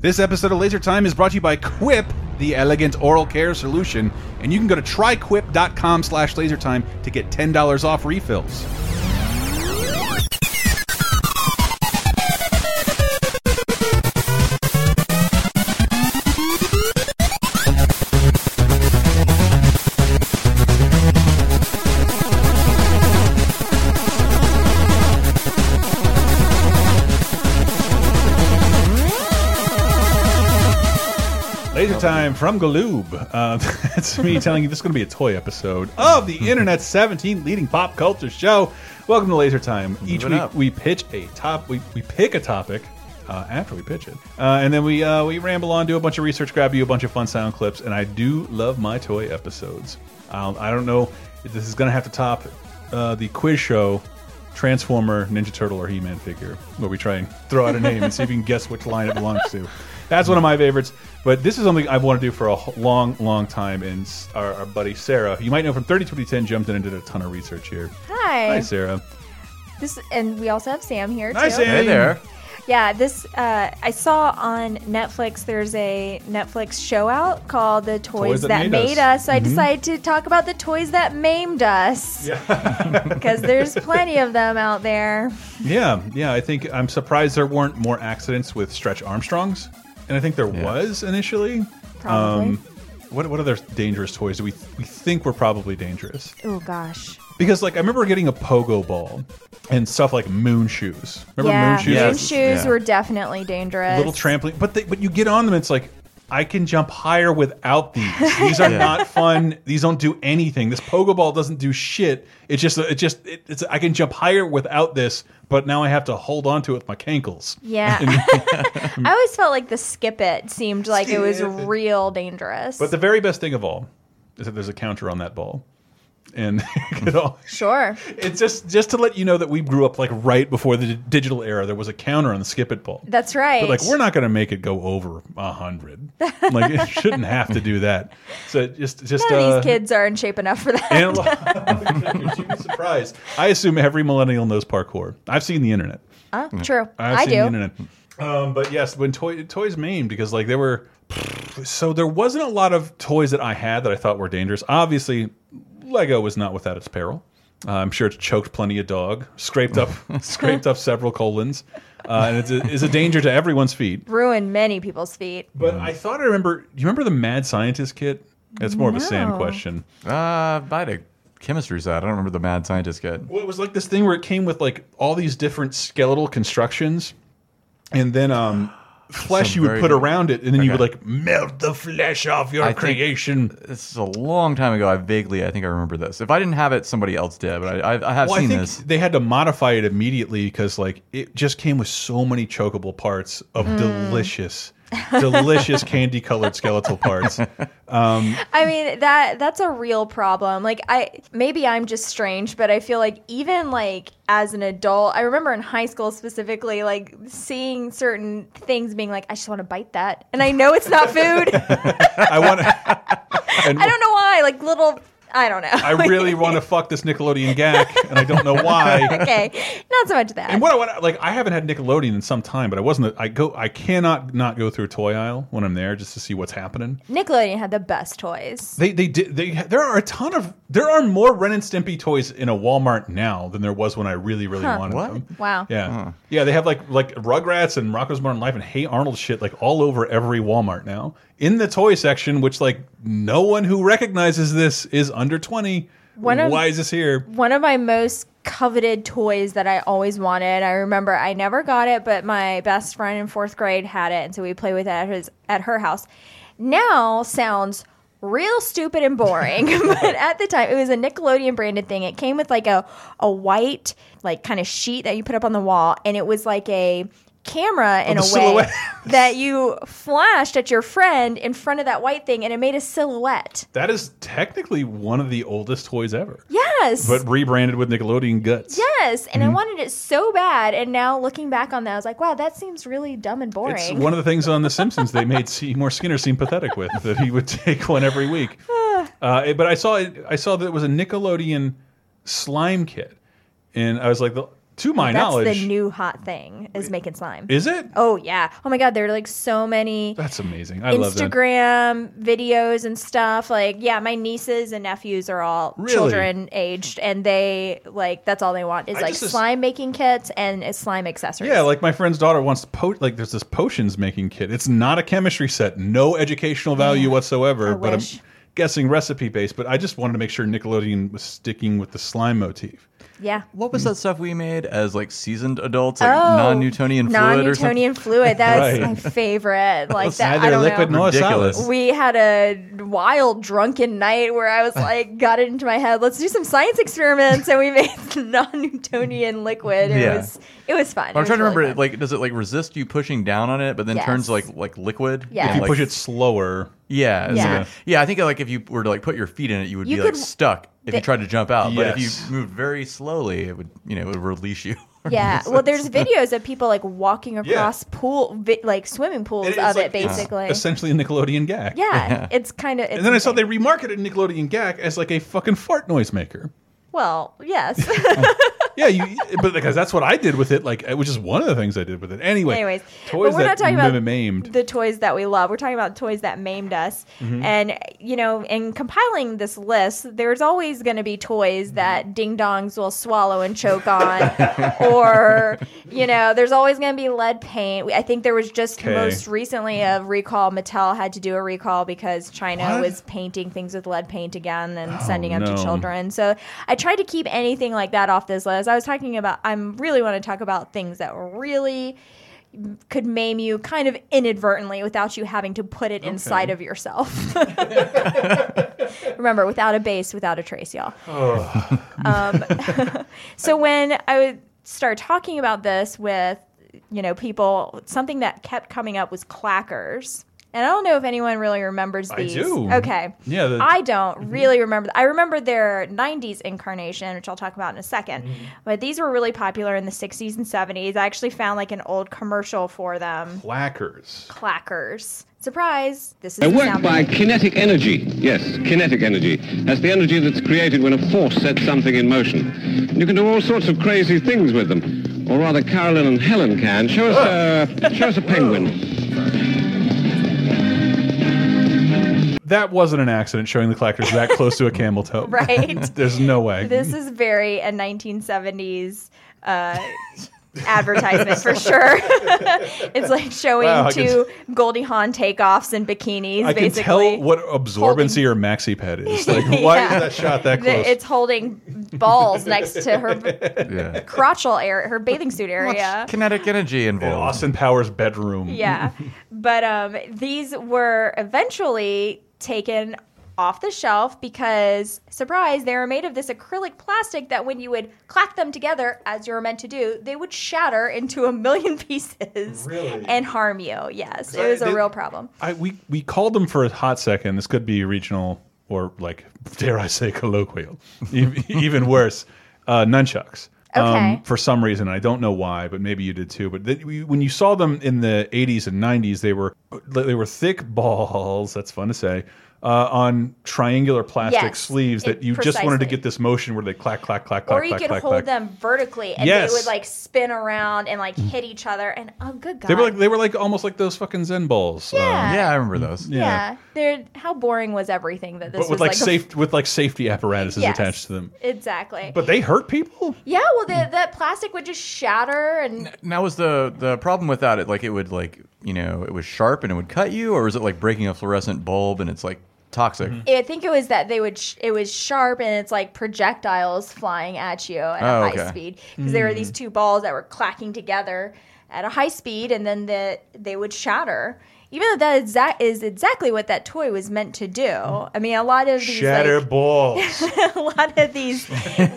This episode of Laser Time is brought to you by Quip, the elegant oral care solution, and you can go to tryquip.com slash lasertime to get $10 off refills. Laser time from Galoob. Uh, that's me telling you this is going to be a toy episode of the internet's 17th leading pop culture show. Welcome to Laser Time. Each Moving week up. we pitch a top, we, we pick a topic uh, after we pitch it, uh, and then we uh, we ramble on, do a bunch of research, grab you a bunch of fun sound clips, and I do love my toy episodes. I'll, I don't know if this is going to have to top uh, the quiz show. Transformer, Ninja Turtle, or He-Man figure, where we try and throw out a name and see if you can guess which line it belongs to. That's one of my favorites. But this is something I've wanted to do for a h- long, long time. And s- our, our buddy Sarah, who you might know from 302010, jumped in and did a ton of research here. Hi. Hi, Sarah. This and we also have Sam here Hi, too. Sam. Hey there. Yeah, this uh, I saw on Netflix. There's a Netflix show out called "The Toys, That, Made, Us." So I Mm-hmm. decided to talk about the toys that maimed us because there's plenty of them out there. Yeah, yeah. I think I'm surprised there weren't more accidents with Stretch Armstrongs, and I think there was initially. Um, Probably. what what other dangerous toys do we we think were probably dangerous? oh gosh. Because like I remember getting a pogo ball and stuff like moon shoes. Remember yeah, moon shoes? Yes. shoes Yeah. were definitely dangerous. Little trampoline, but they, but you get on them, it's like. I can jump higher without these. These are Yeah. not fun. These don't do anything. This pogo ball doesn't do shit. It's just, it just, it, it's. I can jump higher without this, but now I have to hold on to it with my cankles. Yeah. I always felt like the skip it seemed like it was Skip it. real dangerous. But the very best thing of all is that there's a counter on that ball. And it all- sure. it's just just to let you know that we grew up like right before the digital era. There was a counter on the skip it ball. That's right. But like we're not going to make it go over a hundred. Like it shouldn't have to do that. So just just None uh, of these kids are in shape enough for that. analog- You'd be surprised. I assume every millennial knows parkour. I've seen the internet. Oh, true. I've I seen the do. internet. Um, but yes, when toy, toys maimed because like there were, so there wasn't a lot of toys that I had that I thought were dangerous. Obviously, Lego was not without its peril. Uh, I'm sure it's choked plenty of dog, scraped up, scraped up several colons, uh, and it's a, is a danger to everyone's feet. Uh, Ruin many people's feet. But I thought I remember. Do you remember the mad scientist kit? It's more of a Sam No. question. Uh, I had a chemistry side. I don't remember the mad scientist kid. Well, it was like this thing where it came with like all these different skeletal constructions, and then um, flesh Some you would very put good- around it, and then you would Okay. like melt the flesh off your I think- creation. This is a long time ago. I vaguely, I think I remember this. If I didn't have it, somebody else did. But I, I, I have well, I seen think this. they had to modify it immediately because like it just came with so many chokeable parts of Mm. delicious, delicious candy colored skeletal parts. I mean that that's a real problem. Like I maybe I'm just strange, but I feel like even like as an adult, I remember in high school specifically like seeing certain things being like I just want to bite that. And I know it's not food. I want. to And I don't know why. Like little I don't know. I really want to fuck this Nickelodeon gack, and I don't know why. okay. Not so much that. And what I want, like, I haven't had Nickelodeon in some time, but I wasn't. I go, I cannot not go through a toy aisle when I'm there just to see what's happening. Nickelodeon had the best toys. They, they did. They there are a ton of there are more Ren and Stimpy toys in a Walmart now than there was when I really, really wanted What? them. Wow. Yeah, yeah. They have like like Rugrats and Rocko's Modern Life and Hey Arnold shit like all over every Walmart now in the toy section, which like no one who recognizes this is under twenty. One of- Why is this here? one of my most coveted toys that I always wanted. I remember I never got it, but my best friend in fourth grade had it, and so we played with it at his at her house. Now sounds real stupid and boring, but at the time it was a Nickelodeon branded thing. It came with like a a white like kind of sheet that you put up on the wall, and it was like a camera in Oh, the a way silhouette. that you flashed at your friend in front of that white thing and it made a silhouette. That is technically one of the oldest toys ever. Yes. But rebranded with Nickelodeon guts. Yes, and I Mm-hmm. wanted it so bad. And now looking back on that, I was like, wow, that seems really dumb and boring. It's one of the things on The Simpsons they made Seymour Skinner seem pathetic with that he would take one every week. Ah. Uh, it- but I saw it, I saw that it was a Nickelodeon slime kit, and I was like, the, to my That's knowledge, the new hot thing is making slime. is it? oh yeah. Oh my god, there are like so many That's amazing. I love that. Instagram videos and stuff. Like, yeah, my nieces and nephews are all Really? children aged, and they like that's all they want is I like just- slime making kits and uh, slime accessories. Yeah, like my friend's daughter wants to po like there's this potions making kit. It's not a chemistry set, no educational value whatsoever, I but wish. I'm guessing recipe based, but I just wanted to make sure Nickelodeon was sticking with the slime motif. yeah. What was that stuff we made as like seasoned adults, like Oh, non-Newtonian fluid or something? non-Newtonian fluid. That's Right. my favorite. Like that. I Neither don't liquid know. nor Ridiculous. solid. we had a wild drunken night where I was like, got it into my head. Let's do some science experiments, and we made non-Newtonian liquid. It Yeah. was it was fun. It I'm was trying to really remember. fun. Like, does it like resist you pushing down on it, but then Yes. turns like like liquid? Yes. If you Like- push it slower, Yeah, it's Yeah. like a- yeah. I think like if you were to like put your feet in it, you would You be could- like stuck if you the- tried to jump out. But if Yes. you moved very slowly, it would you know it would release you. Yeah. Well, there's videos of people like walking across pool, vi- like swimming pools It- it's of like- it, basically. it's essentially a Nickelodeon gag. yeah, It's kind of. And then I saw they remarketed Nickelodeon gag as like a fucking fart noisemaker. Well, yes. Yeah, you, but because that's what I did with it. Like, it was just one of the things I did with it. Anyway, Anyways, toys but we're that not talking about maimed. Mm-hmm. the toys that we love. We're talking about toys that maimed us. And you know, in compiling this list, there's always going to be toys Mm-hmm. that ding dongs will swallow and choke on, or you know, there's always going to be lead paint. We- I think there was just 'Kay. most recently a recall. Mattel had to do a recall because China What? Oh, was painting things with lead paint again and sending them no. to children. So I tried to keep anything like that off this list. I was talking about. I am really want to talk about things that really could maim you kind of inadvertently without you having to put it inside of yourself. Remember, without a base, without a trace, y'all. um, so when I would start talking about this with you know people, something that kept coming up was clackers. And I don't know if anyone really remembers I these. do. Okay. Yeah, the- Mm-hmm. I don't really remember. I remember their 90s incarnation, which I'll talk about in a 2nd Mm-hmm. But these were really popular in the 60s and 70s. I actually found like an old commercial for them. Clackers. Clackers. Surprise. This is They the work sound by they- kinetic energy. Yes, kinetic energy. That's the energy that's created when a force sets something in motion. And you can do all sorts of crazy things with them. Or rather, Carolyn and Helen can. Show us, uh, show us a penguin. That wasn't an accident showing the clackers that close to a camel toe. Right. There's no way. this is very a 1970s uh, advertisement for sure. it's like showing Wow, I can two Goldie Hawn takeoffs in bikinis, I can basically. tell what absorbency or maxi pad is. Like, why is that shot that The- close? It's holding balls next to her b- yeah, crotchal area, her bathing suit area. kinetic energy In involved. Austin Powers bedroom. Yeah. But um, these were eventually taken off the shelf because, surprise, they were made of this acrylic plastic that when you would clack them together, as you were meant to do, they would shatter into a million pieces Really? and harm you. Yes, it I- was a they- real problem. I, we we called them for a hot second. This could be regional or like dare I say colloquial, E- even worse, uh, nunchucks. Okay. for some reason, I don't know why, but maybe you did too. But th- we- when you saw them in the '80s and '90s, they were they were thick balls. That's fun to say. Uh, on triangular plastic Yes, sleeves that it- you just wanted to precisely. get this motion where they clack clack clack clack Or you clack could clack. hold clack. them vertically and Yes. they would like spin around and like hit each other. And oh, good God. They were like they were like almost like those fucking Zen balls. um, Yeah. yeah, I remember those. Yeah. yeah. They're, how boring was everything that this but with was like, like a- safe with like safety apparatuses Yes. attached to them. Exactly. But they hurt people. Yeah, Mm. well, the, that plastic would just shatter, and And that was the the problem with that. It like it would like you know it was sharp and it would cut you, or is it like breaking a fluorescent bulb and it's like toxic? Mm-hmm. I think it was that they would. Sh- it was sharp, and it's like projectiles flying at you at Oh, a high okay. Mm. speed because there were these two balls that were clacking together at a high speed, and then the, they would shatter. Even though that exact is exactly what that toy was meant to do. Mm. I mean, a lot of these Shatter balls. like, a lot of these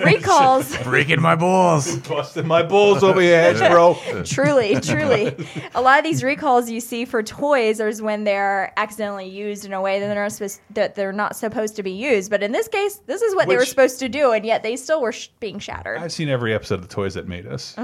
recalls Breaking my balls. Busting my balls over your head, bro. truly, truly. A lot of these recalls you see for toys is when they're accidentally used in a way that they're not supposed that they're not supposed to be used. But in this case, this is what they were Which- supposed to do, and yet they still were sh- being shattered. I've seen every episode of The Toys That Made Us.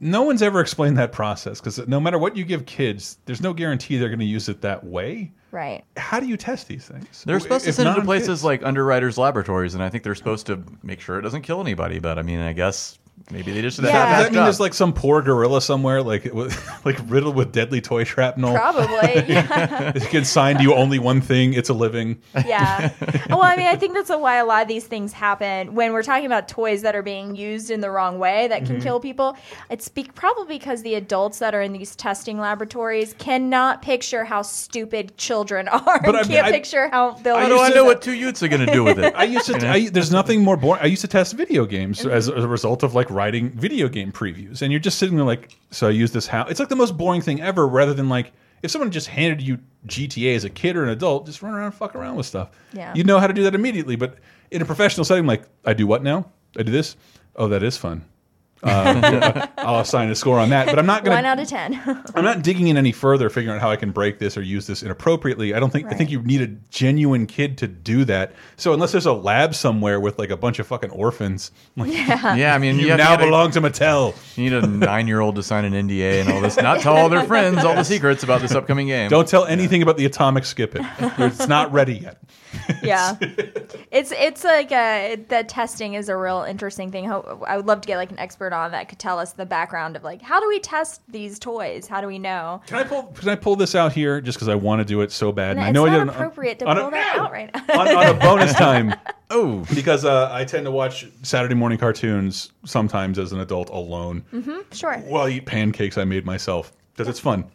No one's ever explained that process because no matter what you give kids, there's no guarantee they're going to use it that way. right. How do you test these things? They're supposed to If send it to non-kids- places like underwriters' laboratories, and I think they're supposed to make sure it doesn't kill anybody. But I mean, I guess Maybe they just Yeah. Does that that mean there's like some poor gorilla somewhere, like it was like riddled with deadly toy shrapnel? Probably. Yeah. It can sign to you only one thing: it's a living. yeah. Well, I mean, I think that's why a lot of these things happen when we're talking about toys that are being used in the wrong way that Mm-hmm. can kill people. It's be- probably because the adults that are in these testing laboratories cannot picture how stupid children are But and I- can't I- picture how they'll. How do I know what two youths are going to do with it? I used to. I, there's nothing more boring. I used to test video games as, as a result of like writing video game previews, and you're just sitting there like, so I use this how? It's like the most boring thing ever. Rather than like, if someone just handed you GTA as a kid or an adult, just run around and fuck around with stuff. Yeah. you know how to do that immediately. But in a professional setting, like, I do what now? I do this. Oh, that is fun. Uh, I'll assign a score on that, but I'm not gonna. One out of ten. I'm not digging in any further, figuring out how I can break this or use this inappropriately. I don't think I think Right. you need a genuine kid to do that. So unless there's a lab somewhere with like a bunch of fucking orphans, like Yeah, I mean, you have to now get a- belong to Mattel. You need a nine-year-old to sign an NDA and all this. Not tell all their friends all the secrets about this upcoming game. Don't tell anything about the atomic skip it. It's not ready yet. yeah. It's it's like a, the testing is a real interesting thing. Ho- I would love to get like an expert on that could tell us the background of like how do we test these toys? How do we know? Can I pull? Can I pull this out here just because I want to do it so bad? No, I know it's I did not it on- appropriate to on a- pull that out right now. on, on a bonus time. Oh, Because uh, I tend to watch Saturday morning cartoons sometimes as an adult alone Mm-hmm. Sure. while I eat pancakes I made myself because it's fun.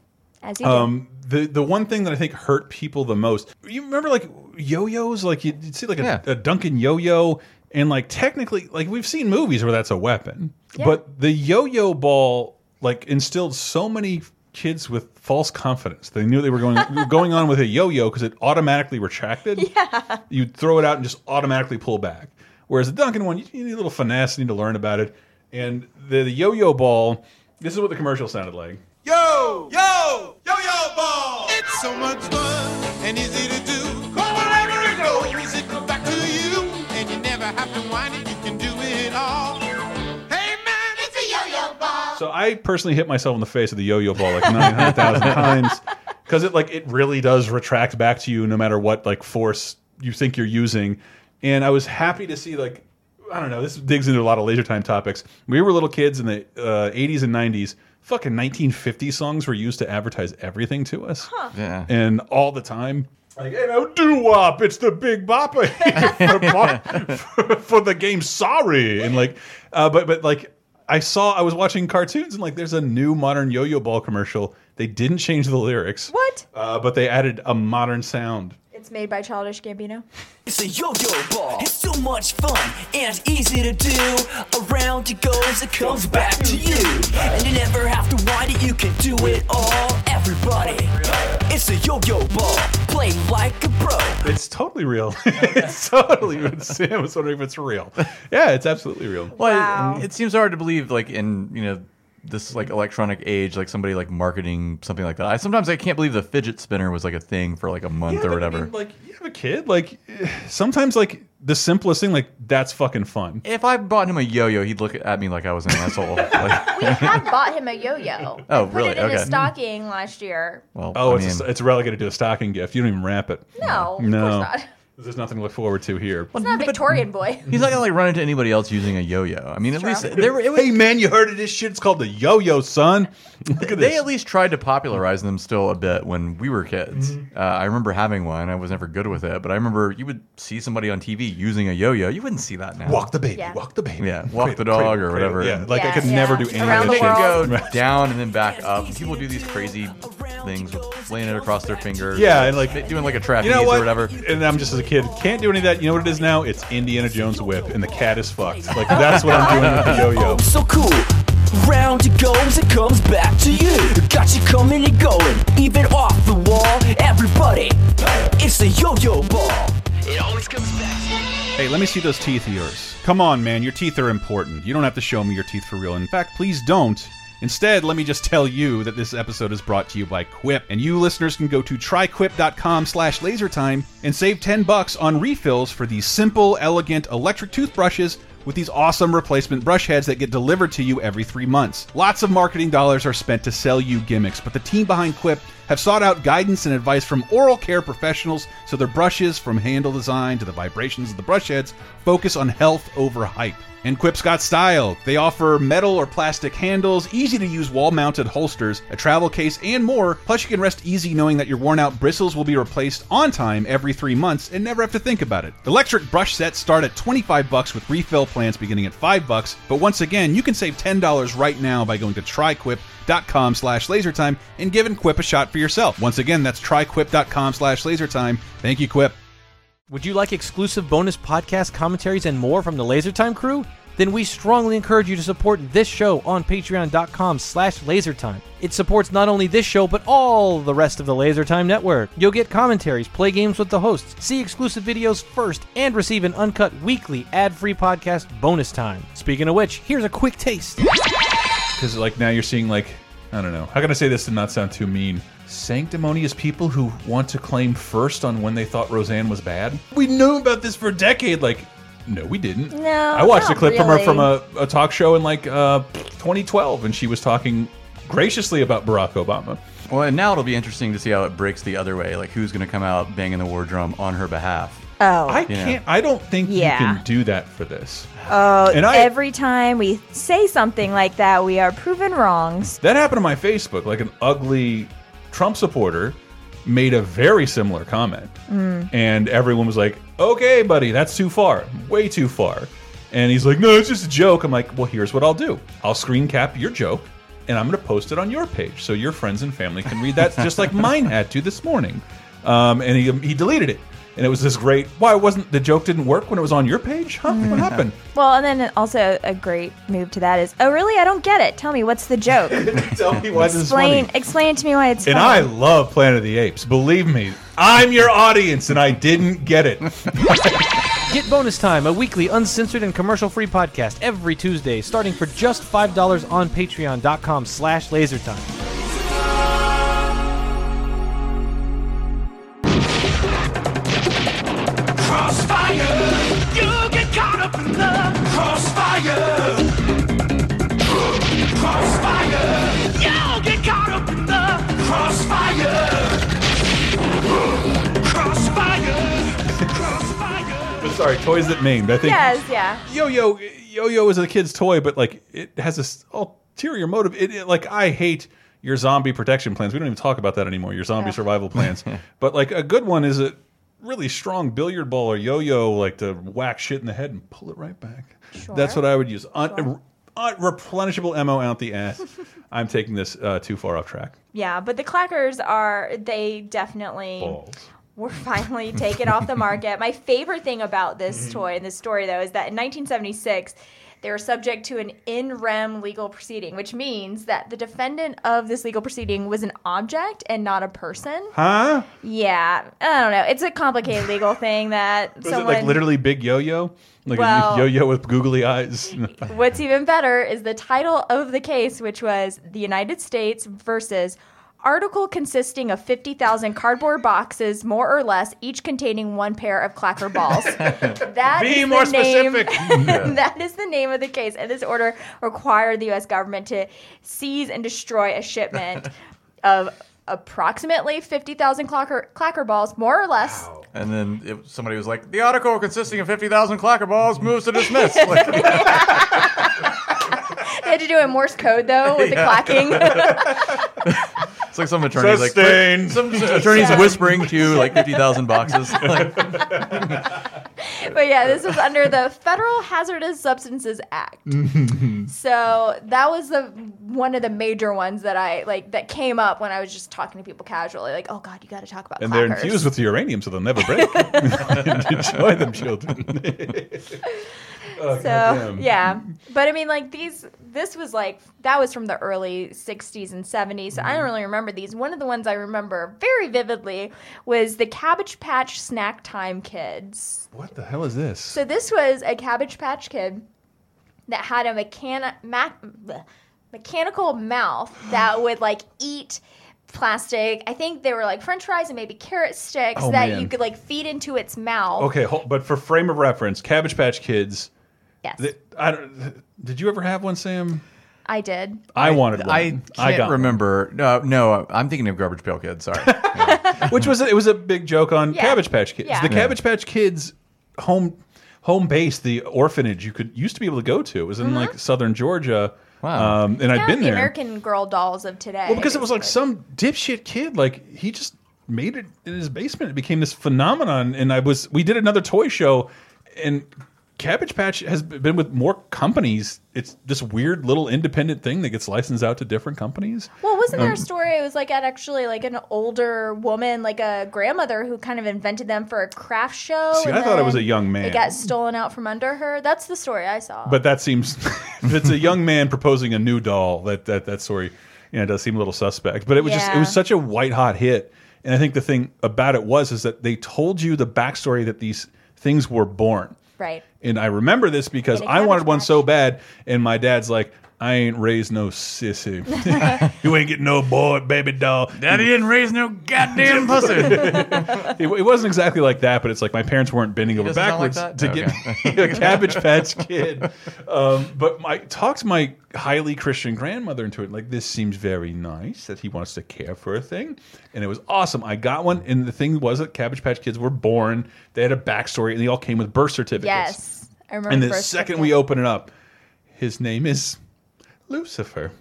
As you do. Um, the the one thing that I think hurt people the most, you remember like yo-yos, like you'd, you'd see like a, Yeah. a Duncan yo-yo, and like technically, like we've seen movies where that's a weapon, Yeah. but the yo-yo ball like instilled so many kids with false confidence. They knew they were going going on with a yo-yo because it automatically retracted. Yeah, you throw it out and just automatically pull back. Whereas the Duncan one, you, you need a little finesse, you need to learn about it, and the, the yo-yo ball. This is what the commercial sounded like. Yo, yo, yo, yo, ball. It's so much fun and easy to do. Go wherever it goes, it comes back to you. And you never have to whine it, you can do it all. Hey man, it's a yo-yo ball. So I personally hit myself in the face with the yo-yo ball like 900,000 times because it like it really does retract back to you no matter what like force you think you're using. And I was happy to see like I don't know, this digs into a lot of laser time topics. We were little kids in the uh, 80s and 90s. Fucking 1950 songs were used to advertise everything to us. yeah. And all the time like, hey, now doo wop, it's the big bopper for, for, for the game. Sorry, and like, uh, but but like, I saw I was watching cartoons and like, there's a new modern yo-yo ball commercial. They didn't change the lyrics. What? Uh, but they added a modern sound. It's made by Childish Gambino. It's a yo-yo ball. It's so much fun and easy to do. Around it goes, it comes back to you. And you never have to wind it, you can do it all. Everybody, it's a yo-yo ball. Play like a pro. It's totally real. it's totally. I was wondering if it's real. Yeah, it's absolutely real. Well, Wow. it, it seems hard to believe, like in you know this like electronic age, like somebody like marketing something like that. I sometimes I can't believe the fidget spinner was like a thing for like a month or but I whatever. mean, like, you have a kid. Like, eh, sometimes like the simplest thing, like that's fucking fun. if I bought him a yo-yo, he'd look at me like I was an asshole. Like, We have bought him a yo-yo. Oh, I put really? it in his Mm-hmm. Okay. stocking last year. well, Oh, I it's, mean- it's relegated to a stocking gift. You don't even wrap it. No, of No. course not. There's nothing to look forward to here. It's not a Victorian boy. he's not gonna like run into anybody else using a yo-yo. I mean, at least there were. It was, Hey man, you heard of this shit? It's called the yo-yo, son. Look at they this. at least tried to popularize them still a bit when we were kids. Mm-hmm. Uh, I remember having one. I was never good with it, but I remember you would see somebody on TV using a yo-yo. You wouldn't see that now. Walk the baby, Yeah. walk the baby. Yeah, walk the dog or whatever. Yeah, like I Yeah. could Yeah. never do any Around of You the that should shit. world. go down and then back up. People do these crazy things with laying it across their fingers. Yeah, and like- doing like a trapeze You know or what? whatever. And I'm just as a kid, can't do any of that. You know what it is now? It's Indiana Jones whip, and the cat is fucked. Like that's what I'm doing with the yo-yo. So cool. Round it goes, it comes back to you. Got you coming and going, even off the wall. Everybody, it's a yo-yo ball. It always comes back. Hey, let me see those teeth of yours. Come on, man, your teeth are important. You don't have to show me your teeth for real. In fact, please don't. Instead, let me just tell you that this episode is brought to you by Quip, and you listeners can go to tryquip.com slash lasertime and save 10 bucks on refills for these simple, elegant electric toothbrushes with these awesome replacement brush heads that get delivered to you every three months. Lots of marketing dollars are spent to sell you gimmicks, but the team behind Quip have sought out guidance and advice from oral care professionals so their brushes, from handle design to the vibrations of the brush heads, focus on health over hype. And Quip's got style. They offer metal or plastic handles, easy to use wall mounted holsters, a travel case, and more. Plus, you can rest easy knowing that your worn out bristles will be replaced on time every three months and never have to think about it. Electric brush sets start at 25 bucks with refill plans beginning at 5 bucks. But once again, you can save $10 right now by going to tryquip.com slash lasertime and giving Quip a shot for yourself. Once again, that's tryquip.com slash lasertime. Thank you, Quip. Would you like exclusive bonus podcast commentaries and more from the Lasertime crew? Then we strongly encourage you to support this show on patreon.com slash lasertime. It supports not only this show, but all the rest of the Lasertime network. You'll get commentaries, play games with the hosts, see exclusive videos first, and receive an uncut weekly ad-free podcast bonus time. Speaking of which, here's a quick taste. because like now you're seeing like I don't know. How can I say this to not sound too mean? Sanctimonious people who want to claim first on when they thought Roseanne was bad. We knew about this for a decade. Like, no, we didn't. No, I watched a not clip from her really. from a, a talk show in like uh, 2012, and she was talking graciously about Barack Obama. Well, and now it'll be interesting to see how it breaks the other way. Like, who's going to come out banging the war drum on her behalf? Oh, I can't. I don't think Yeah. you can do that for this. oh, and I- every time we say something like that, we are proven wrongs. That happened on my Facebook. Like an ugly Trump supporter made a very similar comment. And everyone was like, okay, buddy, that's too far. Way too far. And he's like, no, it's just a joke. I'm like, well, here's what I'll do I'll screen cap your joke and I'm going to post it on your page so your friends and family can read that, just like mine had to this morning. Um, and he, he deleted it. And it was this great. Why wasn't the joke didn't work when it was on your page? Huh? What happened? Well, and then also a great move to that is, oh, really? I don't get it. Tell me, what's the joke? Tell me why this is funny. explain, explain to me why it's. And I funny. love Planet of the Apes. Believe me, I'm your audience, and I didn't get it. Get Bonus Time, a weekly uncensored and commercial-free podcast every Tuesday, starting for just $5 on patreon.com slash lasertime. Crossfire, you get caught up in the crossfire. Crossfire, you get caught up in the crossfire. Crossfire, crossfire. Sorry, toys that maimed. I think Yes, yeah. yo-yo, yo-yo is a kid's toy, but like it has this ulterior motive. It, it- like I hate your zombie protection plans. We don't even talk about that anymore. Your zombie survival plans, but like a good one is a really strong billiard ball or yo-yo, like to whack shit in the head and pull it right back. That's what I would use. Un un- replenishable ammo out the ass. I'm taking this uh, too far off track. Yeah, but the clackers are, they definitely Balls. were finally taken off the market. My favorite thing about Mm-hmm. this toy and this story, though, is that in 1976, they were subject to an in rem legal proceeding, which means that the defendant of this legal proceeding was an object and not a person. Huh? Yeah, I don't know. It's a complicated legal thing that Was someone. it like literally Big Yo Yo? Like Well- a yo yo with googly eyes? What's even better is the title of the case, which was The United States versus article consisting of 50,000 cardboard boxes, more or less, each containing one pair of clacker balls. That Be is more the name- specific. that is the name of the case. And this order required the U.S. government to seize and destroy a shipment of approximately 50,000 clacker, clacker balls, more or less. And then it, somebody was like, the article consisting of 50,000 clacker balls moves to dismiss. Like, They had to do it in Morse code, though, with the clacking. it's like some attorneys like, Sustained. some attorneys whispering to like 50,000 boxes. Like, But yeah, this was under the Federal Hazardous Substances Act. so that was the one of the major ones that I like that came up when I was just talking to people casually, like, "Oh God, you got to talk about." and they're clackers. infused with uranium, so they'll never break. Enjoy them, children. So yeah, but I mean, like these. This was like that was from the early '60s and '70s. So I Mm-hmm. don't really remember these. One of the ones I remember very vividly was the Cabbage Patch Snack Time Kids. what the hell is this? So this was a Cabbage Patch Kid that had a mechani- ma- bleh, mechanical mouth that would like eat plastic. I think they were like French fries and maybe carrot sticks Oh, that man. you could like feed into its mouth. okay, hol- but for frame of reference, Cabbage Patch Kids. Yes, th- I don't, th- did you ever have one, Sam? I did. I, wanted one. I can't got one. remember. No, no, I'm thinking of Garbage Pail Kids. Sorry. Which was a, it was a big joke on Yeah. Cabbage Patch Kids. Yeah. The Yeah. Cabbage Patch Kids home home base, the orphanage you could used to be able to go to. It was in Mm-hmm. like southern Georgia. Wow. Um, and I'd Now been the there. American Girl dolls of today. Well, because it was like but- some dipshit kid, like he just made it in his basement. It became this phenomenon, and I was we did another toy show, and Cabbage Patch has been with more companies. It's this weird little independent thing that gets licensed out to different companies. Well, wasn't um, there a story? It was like at actually like an older woman, like a grandmother, who kind of invented them for a craft show. See, and I thought it was then a young man. It got stolen out from under her. That's the story I saw. But that seems if it's a young man proposing a new doll, that that that story, you know, does seem a little suspect. But it was just it Yeah. was such a white hot hit, and I think the thing about it was is that they told you the backstory that these things were born. right. And I remember this because In a I wanted cabbage one patch. so bad, and my dad's like, "I ain't raised no sissy. you ain't getting no boy, baby doll." Daddy didn't raise no goddamn pussy. It, it wasn't exactly like that, but it's like my parents weren't bending over doesn't sound like backwards to that? No, get me a Cabbage Patch Kid. Um, but I talked my highly Christian grandmother into it. Like, this seems very nice that he wants to care for a thing, and it was awesome. I got one, and the thing was that Cabbage Patch Kids were born. They had a backstory, and they all came with birth certificates. Yes, I remember. And the first second looking we at- open it up, his name is Lucifer.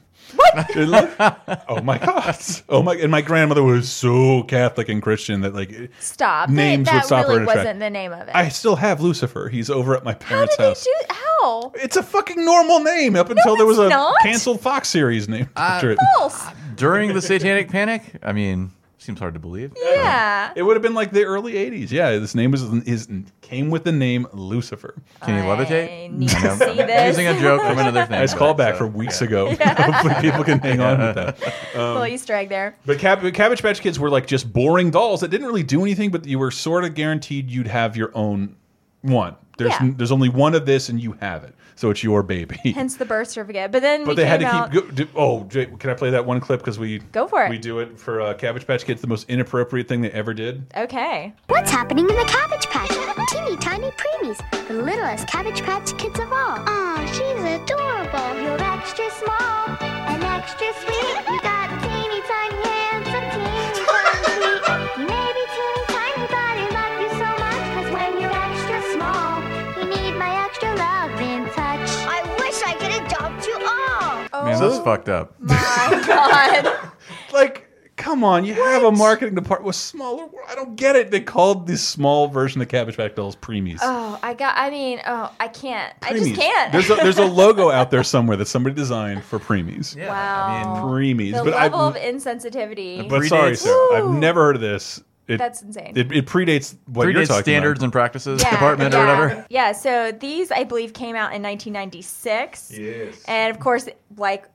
What? oh my god! Oh my! And my grandmother was so Catholic and Christian that like it- stop, names that, would stop her really in her track. wasn't the name of it. I still have Lucifer. He's over at my how parents' did they house. do? How? it's a fucking normal name up until there was it's a not. canceled Fox series name after it. False. During the Satanic Panic? I mean, seems hard to believe. Yeah. It would have been like the early '80s. Yeah, this name was his came with the name Lucifer. Can you I levitate? need to No. see this. Using a joke from another thing. Nice but, callback so, from weeks ago. Hopefully, people can hang on with that. little Easter egg there. But Cab Cabbage Patch Kids were like just boring dolls that didn't really do anything, but you were sort of guaranteed you'd have your own one. There's Yeah. there's only one of this, and you have it, so it's your baby. Hence the birth certificate. But then but we they came had to out, keep. Go, do, oh, Jay, can I play that one clip? Because we Go for it. We do it for uh, Cabbage Patch Kids, the most inappropriate thing they ever did. Okay. What's happening in the Cabbage Patch? Teeny tiny preemies, the littlest Cabbage Patch kids of all. Aw, she's adorable. You're extra small and extra sweet. You got teeny tiny hands and teeny tiny feet. You may be teeny tiny, but I love you so much. Cause when you're extra small, you need my extra love and touch. I wish I could adopt you all. Oh. Man, that's fucked up. My God. Like. Come on, you have a marketing department with smaller. I don't get it. They called this small version of Cabbage Patch Dolls preemies. Oh, I got. I mean, oh, I can't. I just Preemies. can't. There's a, there's a logo out there somewhere that somebody designed for preemies. Yeah, Wow. Preemies, the but I've level of insensitivity. But predates- sorry, sir. I've Woo. never heard of this. It, That's insane. It, it predates what Three you're days talking standards about. and practices department yeah. or whatever. Yeah, so these I believe came out in 1996. Yes. And of course, like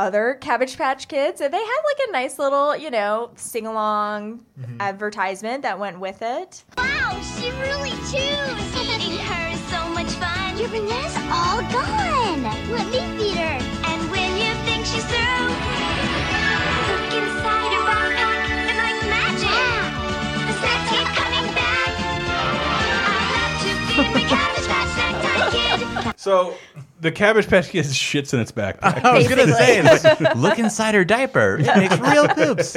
other Cabbage Patch Kids, they had like a nice little, you know, sing along Mm-hmm. advertisement that went with it. Wow, she really chews. Feeding her is so much fun. Your banana's all gone. Let me feed her. And when you think she's through, look inside her backpack, and like magic, the snacks keep coming back. I love to feed the cabbage patch necktie kid. So the Cabbage Patch Kids shits in its backpack. I was gonna Basically. say, it's- look inside her diaper. It makes real poops.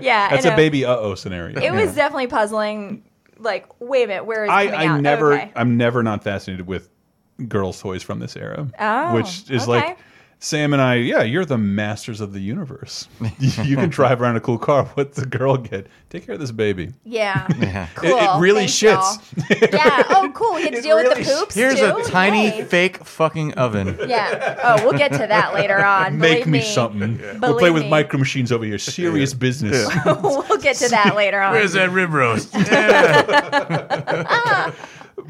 Yeah, That's a I know. baby uh oh scenario. It was definitely puzzling. Like, wait a minute, where is it I, coming I out? never Okay. I'm never not fascinated with girls' toys from this era. Oh, which is okay. like Sam and I, yeah, you're the masters of the universe. you can drive around a cool car. What the girl get? Take care of this baby. Yeah. It- It, Cool. really Thanks, y'all. shits. yeah. Oh, cool. You had to It deal really- with the poops Here's too. a tiny Yay. fake fucking oven. Yeah. Oh, we'll get to that later on. Make Believe me, something. We'll play Believe with me. micro machines over here. Serious business. we'll get to that later on. Where's that rib roast?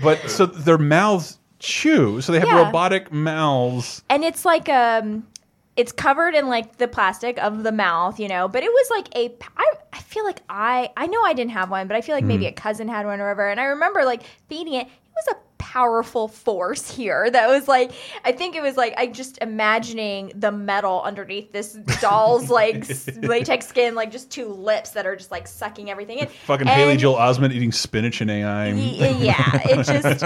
But so their mouths chew, so they have Yeah. robotic mouths. and it's like um it's covered in like the plastic of the mouth you know but it was like a i, I feel like i i know i didn't have one but i feel like Hmm. maybe a cousin had one or whatever and i remember like feeding it it was a powerful force here that was like i think it was like i just imagining the metal underneath this doll's like s- latex skin like just two lips that are just like sucking everything in Fucking Haley And- Joel Osment eating spinach and AI. Y- yeah, it just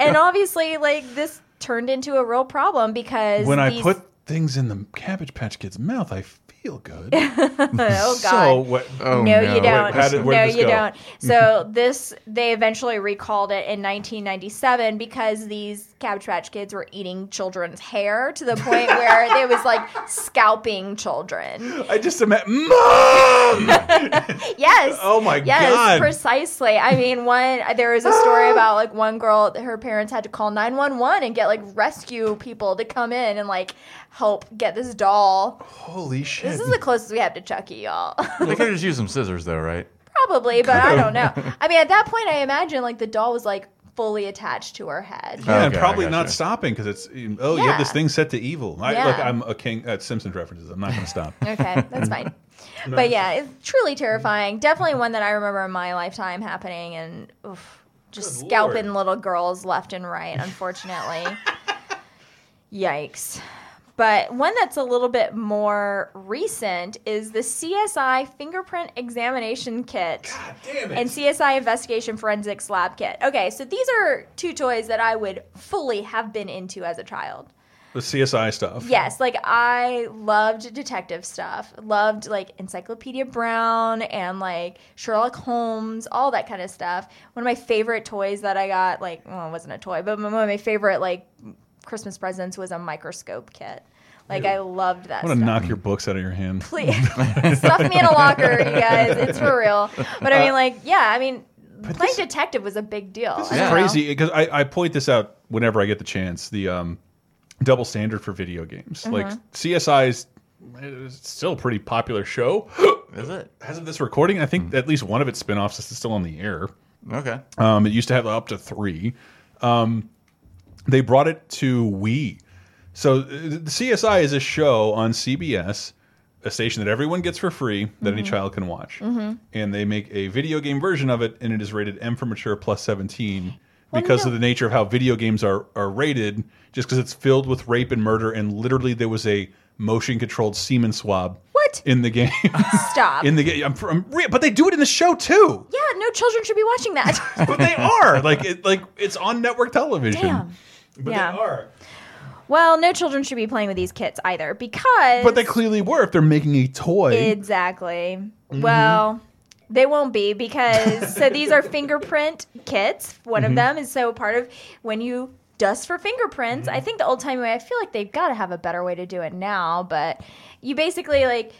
and obviously like this turned into a real problem because When I these- put things in the Cabbage Patch Kid's mouth, I feel feel good. oh God. So what? Oh, no, you no. don't. Wait, how did- where no, did this you go? Mm-hmm. don't. So this, they eventually recalled it in 1997 because these Cabbage Patch Kids were eating children's hair to the point where they was like scalping children. I just imagine. Mom! Yes. Oh, my yes, God. precisely. I mean, one there was a story about like one girl, her parents had to call 911 and get like rescue people to come in and like help get this doll. Holy shit. This is the closest we have to Chucky, y'all. They could have just used some scissors, though, right? Probably, but I don't know. I mean, at that point, I imagine like the doll was like fully attached to her head. Yeah, and Okay, I probably gotcha. not stopping because it's oh you have this Yeah. thing set to evil. I, Yeah. Look, I'm a king at Simpsons references. I'm not going to stop. Okay, that's fine. But yeah, it's truly terrifying. Definitely one that I remember in my lifetime happening, and oof, just Good scalping Lord. little girls left and right. Unfortunately, yikes. But one that's a little bit more recent is the CSI fingerprint examination kit. Damn and CSI Investigation Forensics Lab Kit. Okay, so these are two toys that I would fully have been into as a child. The CSI stuff. Yes, like I loved detective stuff, loved like Encyclopedia Brown and like Sherlock Holmes, all that kind of stuff. One of my favorite toys that I got, like, well, it wasn't a toy, but one of my favorite like Christmas presents was a microscope kit. Like I loved that. I want stuff to knock your books out of your hand. please stuff me in a locker, you guys. It's for real. But I mean, like, yeah, I mean, playing detective was a big deal. Uh, This I is don't know. crazy because I, I point this out whenever I get the chance. The um, double standard for video games, Mm-hmm. like CSI's, it's eh, still a pretty popular show. Is it? As of this recording, I think at least one of its spin-offs is still on the air. Okay. Um, it used to have up to three. Um, they brought it to Wii. So uh, the CSI is a show on CBS, a station that everyone gets for free that any child can watch, and they make a video game version of it, and it is rated M for mature plus seventeen. Because of the nature of how video games are are rated, just because it's filled with rape and murder, and literally there was a motion controlled semen swab What? in the game. Stop. in the game, I'm, I'm re- but they do it in the show too yeah, no children should be watching that. but they are like it, like it's on network television. Damn. But Yeah. they are. well, no children should be playing with these kits either because. But they clearly were if they're making a toy. Exactly. Mm-hmm. Well, they won't be because so these are fingerprint kits. One Mm-hmm. of them is so part of when you dust for fingerprints. Mm-hmm. I think the old time way. I feel like they've got to have a better way to do it now, but you basically like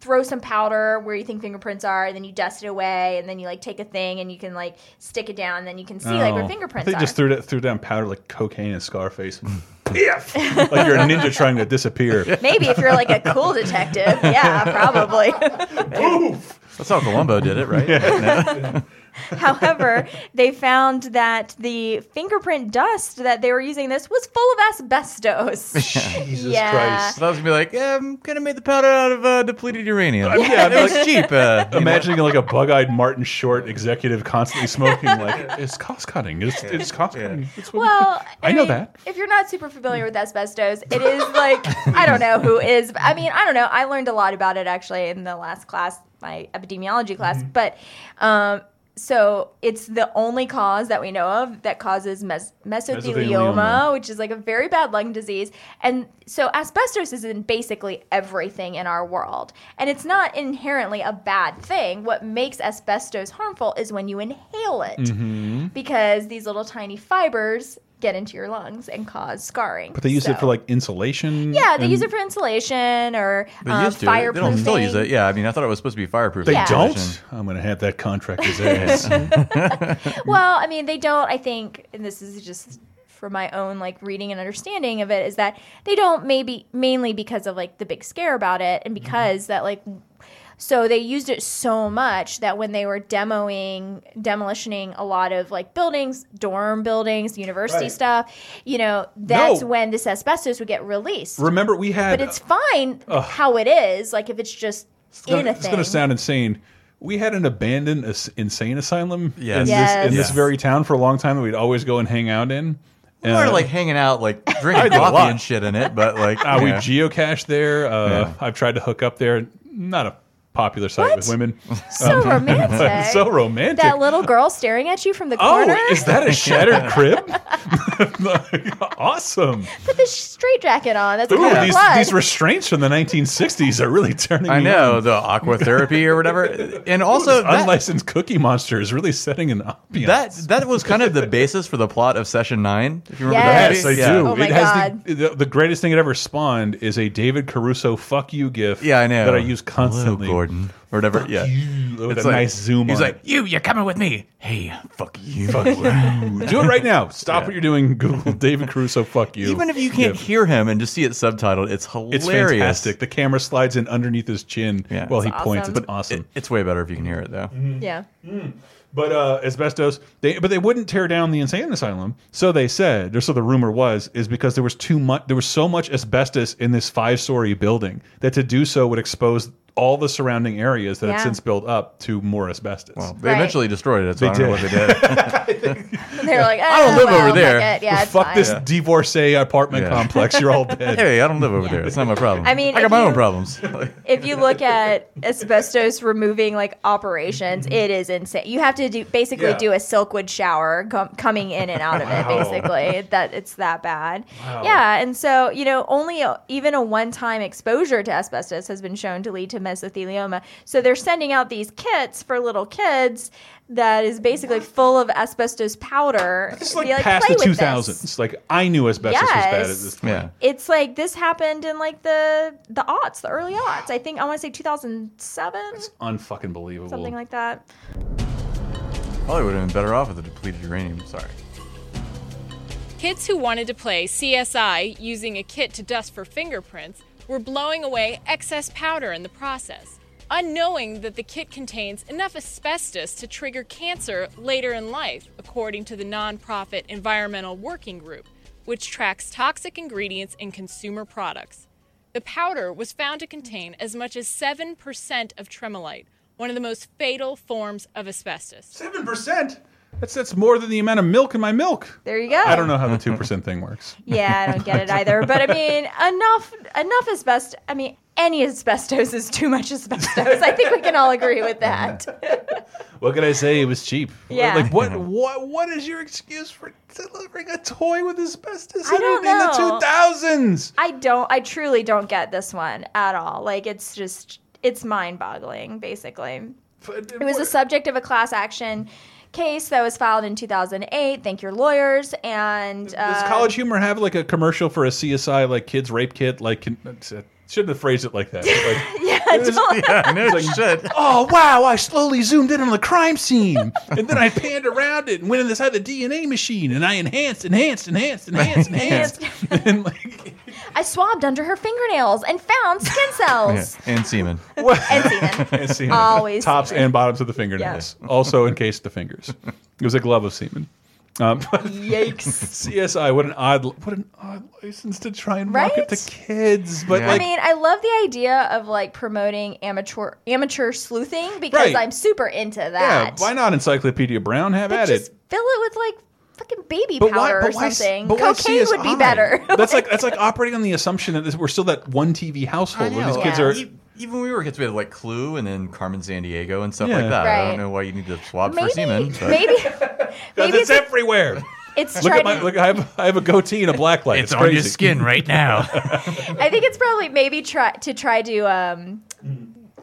throw some powder where you think fingerprints are, and then you dust it away, and then you like take a thing and you can like stick it down, and then you can see like where Oh. fingerprints They are. just threw that, threw down powder like cocaine and Scarface. Piff! like you're a ninja trying to disappear. Maybe if you're like a cool detective, yeah, probably. That's how Columbo did it, right? However, they found that the fingerprint dust that they were using this was full of asbestos. Jesus Yeah. Christ. So I was gonna be like, yeah, I'm gonna make the powder out of uh, depleted uranium. Yeah, Yeah, it looks cheap. Uh, you know. Imagining like a bug-eyed Martin Short executive constantly smoking, like it's cost cutting. It's, it's cost cutting. It's what we Well, I know that. If you're not super familiar with asbestos, it is like I don't know who is. but I mean, I don't know. I learned a lot about it actually in the last class, my epidemiology class. Mm-hmm. But um, so it's the only cause that we know of that causes mes- mesothelioma, Mesothelioma. which is like a very bad lung disease. And so asbestos is in basically everything in our world, and it's not inherently a bad thing. What makes asbestos harmful is when you inhale Mm-hmm. it because these little tiny fibers get into your lungs and cause scarring. But they use it So- for like insulation. yeah, they and- use it for insulation or They um, used to. fireproofing. They don't still use it. Yeah, I mean, I thought it was supposed to be fireproof. They Yeah. don't. I'm gonna have that contractor's ass. Well, I mean, they don't. I think, and this is just for my own like reading and understanding of it, is that they don't maybe mainly because of like the big scare about it, Mm-hmm. and because that like. So they used it so much that when they were demoing, demolitioning a lot of like buildings, dorm buildings, university Right. stuff, you know, that's No. when this asbestos would get released. Remember, we had but it's fine how it is. Like if it's just gonna- in a It's thing. going to sound insane. We had an abandoned as insane asylum Yes. in, Yes. this, in this Yes. very town for a long time that we'd always go and hang out in. Uh, We were like hanging out, like drinking did a lot. coffee and shit in it, but like uh, we yeah. geocached there. Uh, Yeah. I've tried to hook up there. Not a popular site with women. Um, So romantic. so romantic. That little girl staring at you from the oh, corner. is that a shattered crib? awesome. Put the straight jacket on. That's Ooh, covered these, blood. these restraints from the 1960s are really turning I me know on. the aqua therapy or whatever, and also This that, unlicensed Cookie Monster is really setting an ambiance. that that was kind of the basis for the plot of Session Nine. If you remember that, Yes, Yes. I movie. do. Yeah. Oh my it has the- The, the greatest thing it ever spawned is a David Caruso "fuck you" gif. Yeah, I know. that I use Hello, constantly. Gordon or whatever. yeah, With a nice zoom He's on like, you, you're coming with me. Hey, fuck you. it. do it right now. Stop what you're doing. Google David Caruso "fuck you." Even if you can't gif. hear him and just see it subtitled, it's hilarious. it's fantastic. The camera slides in underneath his chin Yeah. while he It's points. awesome. It's awesome. It- it's way better if you can hear it though. Mm-hmm. yeah. But uh, asbestos, they but they wouldn't tear down the insane asylum. So they said, or so the rumor was, is because there was too much. There was so much asbestos in this five-story building that to do so would expose all the surrounding areas that had Yeah. since built up to more asbestos. Well, they Right. eventually destroyed it. So They I don't know what they did. And they're like, don't "Ah, live well, over there. fuck it. Yeah, Well, it's fuck fine. this divorcee apartment Yeah. complex. You're all dead. hey, I don't live over there. It's not my problem. I mean, I if got my you- own problems. Like, If you look at asbestos removing like operations, it is insane. You have to do basically Mm-hmm. Yeah. do a silkwood shower com- coming in and out of it. Basically, that it's that bad. Yeah, and so you know, only a, even a one-time exposure to asbestos has been shown to lead to mesothelioma. So they're sending out these kits for little kids that is basically full of asbestos powder. It's Be like, past "Play the with this." 2000s. Like I knew asbestos was bad at Yes. this point. yeah. it's like this happened in like the the aughts, the early aughts. I think I want to say 2007, Unfucking believable. something like that. Probably would have been better off with the depleted uranium. Sorry. Kids who wanted to play CSI using a kit to dust for fingerprints were blowing away excess powder in the process, unknowing that the kit contains enough asbestos to trigger cancer later in life, according to the nonprofit Environmental Working Group, which tracks toxic ingredients in consumer products. The powder was found to contain as much as 7% of tremolite, one of the most fatal forms of asbestos. Seven percent. That's that's more than the amount of milk in my milk. There you go. I don't know how the two percent thing works. Yeah, I don't get it either. But I mean, enough enough asbestos. I mean, any asbestos is too much asbestos. I think we can all agree with that. What could I say? It was cheap. Yeah. Like what? What? What is your excuse for delivering a toy with asbestos? I don't in the know. two thousands. I don't. I truly don't get this one at all. Like it's just it's mind boggling, basically. uh, It was the subject of a class action case that was filed in 2008. Thank your lawyers and Does uh, College Humor have like a commercial for a CSI like kids rape kit? Like can, it's- uh, shouldn't have phrased it like that. Like, yeah, don't- I know you should. oh wow! I slowly zoomed in on the crime scene, and then I panned around it and went inside the DNA machine, and I enhanced, enhanced, enhanced, enhanced, enhanced, and like I swabbed under her fingernails and found skin Yeah. cells And semen. what? and semen. and semen. Always tops semen. and bottoms of the fingernails. Also encased the fingers. It was a glove of semen. Um, Yikes. CSI, what an odd, what an odd license to try and market Right? to kids. But Yeah. like, I mean, I love the idea of like promoting amateur amateur sleuthing because Right. I'm super into yeah, that. why not Encyclopedia Brown? Have But at just it. fill it with like fucking baby powder or s- something. but why Cocaine would be CSI? better. That's like that's like operating on the assumption that this, we're still that one TV household where these know. kids Yeah. are. E- Even when we were kids, we had like Clue and then Carmen San Diego and stuff Yeah. like that. I Right. don't know why you need to swab maybe, for semen. but- maybe, maybe It's it's, everywhere. it's Look trying at my to- look. I have I have a goatee and a black light. It's, crazy. right now. I think it's probably maybe try to try to um,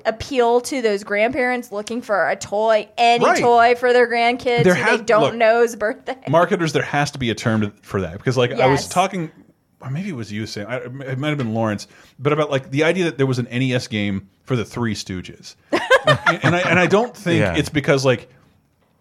appeal to those grandparents looking for a toy, any Right. toy for their grandkids There who has- they don't look. know's birthday. marketers there has to be a term to, for that because like i was Yes. talking or maybe it was you saying I, it might have been lawrence but about like the idea that there was an nes game for the three stooges and i and i don't think Yeah. it's because like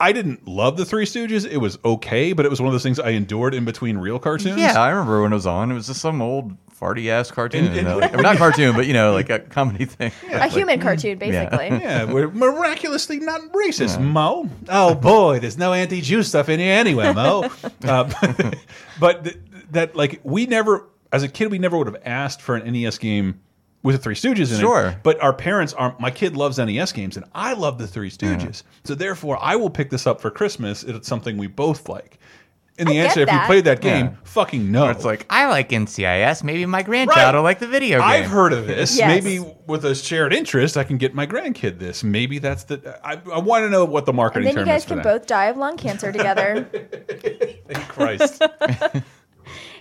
I didn't love the Three Stooges. It was okay, but it was one of those things I endured in between real cartoons. yeah, I remember when it was on. It was just some old farty ass cartoon. And- and- uh, like- not cartoon, but you know, like a comedy thing. a human cartoon, basically. Yeah, we're miraculously not racist, Mo. Oh boy, there's no anti-Jew stuff in here anyway, Mo. uh, but th that like we never, as a kid, we never would have asked for an NES game with the Three Stooges in it. Sure. But our parents are. My kid loves NES games, and I love the Three Stooges. So therefore, I will pick this up for Christmas. It's something we both like. And the I answer, get if you that. played that game, Yeah. fucking no. It's like I like NCIS. Maybe my grandchild Right. will like the video game. I've heard of this. Yes. Maybe with a shared interest, I can get my grandkid this. Maybe that's the. I, I want to know what the And marketing then you term guys is for can that. both die of lung cancer together. Thank Christ.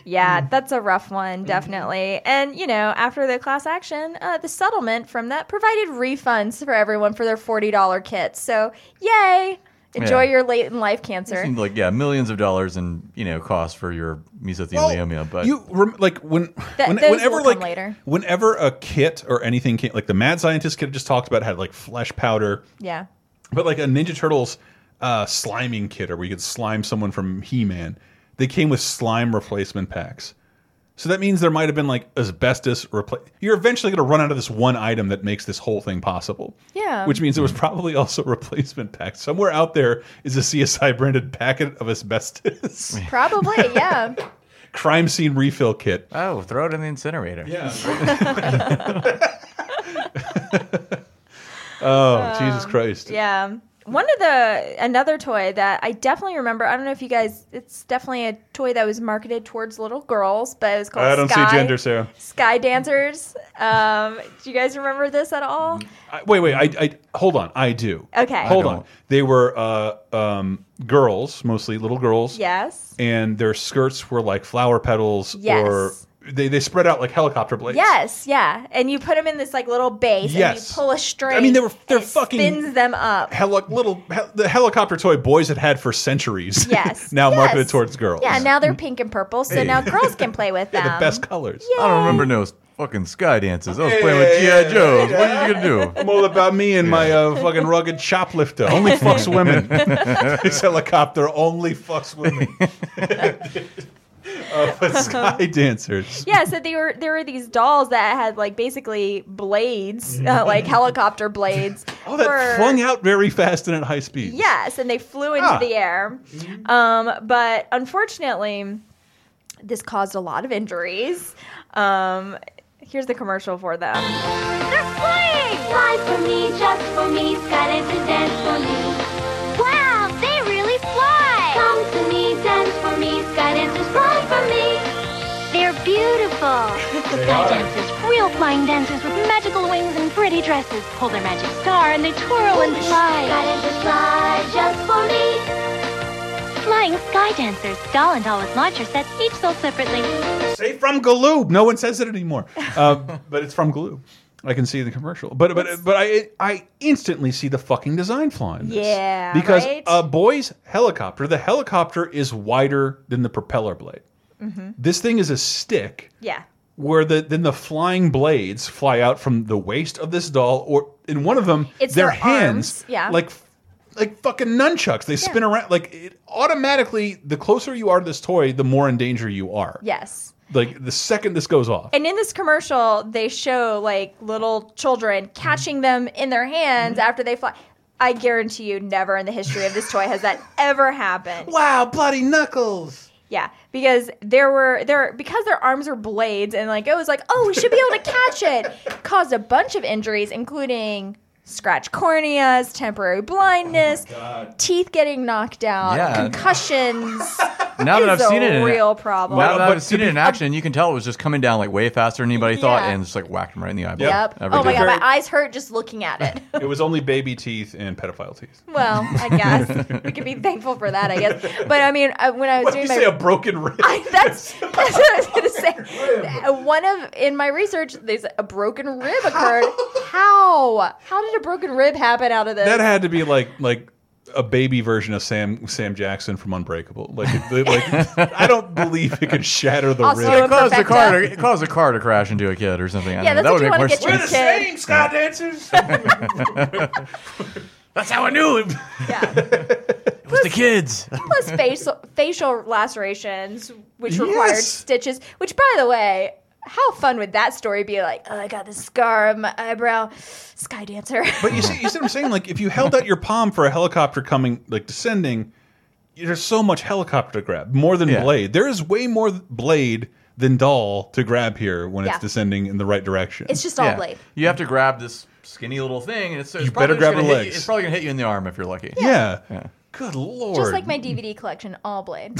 yeah, Mm-hmm. that's a rough one, definitely. And, you know, after the class action, uh, the settlement from that provided refunds for everyone for their $40 kits. So, yay! Enjoy Yeah. your late in life cancer. Seemed like yeah, millions of dollars in you know cost for your mesothelioma, but you rem like when, That- when those will whenever come like later. whenever a kit or anything came, like the mad scientist kit I just talked about had like flesh powder, Yeah. but like a Ninja Turtles uh, sliming kit, or where you could slime someone from He Man. They came with slime replacement packs. So that means there might have been like asbestos replace. You're eventually going to run out of this one item that makes this whole thing possible. Yeah. Which means there was probably also replacement packs. Somewhere out there is a CSI branded packet of asbestos Probably, yeah. crime scene refill kit. oh, throw it in the incinerator. Yeah. oh, Jesus Christ. Um, Yeah. One of the another toy that I definitely remember. I don't know if you guys. It's definitely a toy that was marketed towards little girls, but it was called. I don't Sky, see gender, Sarah. Sky dancers. Um, do you guys remember this at all? I, wait, wait. I, I hold on. I do. Okay. Hold don't. on. They were uh, um, girls, mostly little girls. Yes. And their skirts were like flower petals, Yes. or they they spread out like helicopter blades. Yes. Yeah. And you put them in this like little base, and Yes. you pull a string. I mean, they were- and they're it fucking- spins them up. Heli- little he- the helicopter toy boys had had for centuries. Yes. now Yes. marketed towards girls. Mm-hmm. Yeah. Now they're pink and purple, so now girls can play with them. the best colors. I don't remember no fucking sky dances. I was playing with GI Joes. What are you gonna do? I'm all about me and my uh, fucking rugged shoplifter. Only fucks women. this helicopter only fucks women. uh, but sky dancers. Yeah, so they were there were these dolls that had like basically blades, uh, like helicopter blades. Oh, Mm-hmm. that for- flung out very fast and at high speed. Yes, and they flew into Ah. Mm-hmm. the air. Um, but unfortunately, this caused a lot of injuries. Um, here's the commercial for them. They're flying! Fly for me, just for me, sky dance and dance for me. Wow, they really fly! Come to me, dance for me, sky dancers fly for me. They're beautiful. sky dancers, real flying dancers with magical wings and pretty dresses, hold their magic star and they twirl and fly. Sky dancers fly just for me. Flying sky dancers, doll and doll with launcher sets, each sold separately. Say from Galoob. No one says it anymore. Uh, but it's from Galoob. I can see the commercial, but but but I I instantly see the fucking design flaw in this. Yeah, because right? a boy's helicopter, the helicopter is wider than the propeller blade. This thing is a stick Mm-hmm. Yeah. where the then the flying blades fly out from the waist of this doll, or in one of them, It's their, their hands, arms, yeah. like like fucking nunchucks. They spin around like it, automatically. The closer you are to this toy, the more in danger you are. Yes. Like the second this goes off, And in this commercial, they show like little children Mm-hmm. catching them in their hands after they fly. I guarantee you, never in the history of this toy has that ever happened. wow, bloody knuckles! Yeah, because there were there because their arms are blades and like it was like oh we should be able to catch it caused a bunch of injuries including scratch corneas, temporary blindness, teeth getting knocked out, Oh Yeah. concussions. Now that It's I've seen a it, in- real problem. Now But- that but I've seen to it be- in action, you can tell it was just coming down like way faster than anybody thought, Yeah. and just like whacked him right in the eyeball. yep. Every Oh my time. god, my eyes hurt just looking at it. It was only baby teeth and pedophile teeth. well, I guess we could be thankful for that, I guess. But I mean, I, when I was What did doing you my say? A broken rib? I, that's, that's what I was gonna say. Uh, One of in my research, there's a broken rib occurred. How? How did a broken rib happen out of this? that had to be like like a baby version of Sam Sam Jackson from Unbreakable. Like, it, like I don't believe it could shatter the Also- rib. It caused a car. To, Perfecta. it caused a car to crash into a kid or something. I Yeah, don't that's know. what that you wanna would get make your more kid- sense. same sky dancers. That's how I knew it. yeah. It was the kids. Plus facial facial lacerations, which required Yes. stitches. Which, by the way. How fun would that story be? Like, oh, I got this scar on my eyebrow, sky dancer. But you see, you see what I'm saying? Like, if you held out your palm for a helicopter coming, like descending, there's so much helicopter to grab, more than Yeah. blade. There is way more blade than doll to grab here when Yeah. it's descending in the right direction. it's just all Yeah. blade. You have to grab this skinny little thing, and it's, it's You probably better grab just gonna the hit you- legs. It's probably gonna hit you in the arm if you're lucky. yeah. Good lord. Just like my DVD collection, all Blade.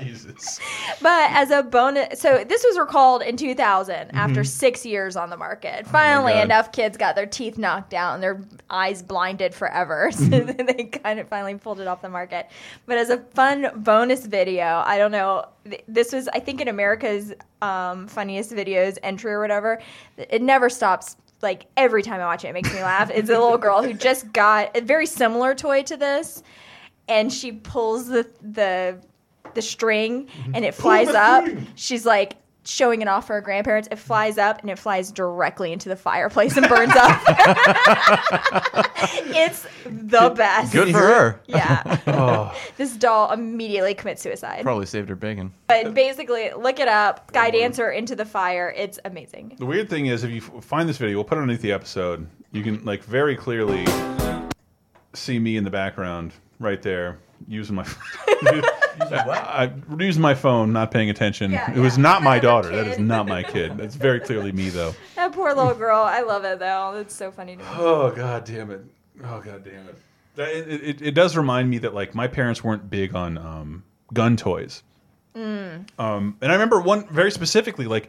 Jesus. But as a bonus, so this was recalled in 2000 after six years on the market. Finally, God. enough kids got their teeth knocked out and their eyes blinded forever. So then they kind of finally pulled it off the market. But as a fun bonus video, I don't know. th- This was, I think, in America's um, funniest videos entry or whatever. It never stops. Like every time I watch it, it makes me laugh. It's a little girl who just got a very similar toy to this and she pulls the the the string and it flies up. She's like showing it off for her grandparents. It flies up and it flies directly into the fireplace and burns up. it's the best. Good for her. Oh. Yeah. This doll immediately commits suicide. Probably saved her bacon. But basically, look it Oh, up. Sky Dancer into the fire. It's amazing. The weird thing is, if you f- find this video, we'll put it underneath the episode. You can like very clearly see me in the background right there using my I, I- using my phone, not paying attention. Yeah, it was yeah. not my Another daughter. That kid. is not my kid. That's very clearly me though. That poor little girl. I love it though. It's so funny to me. Oh god damn it! Oh god damn it! That- It, it, it does remind me that like my parents weren't big on um, gun toys. Mm. Um, and I remember one very specifically like,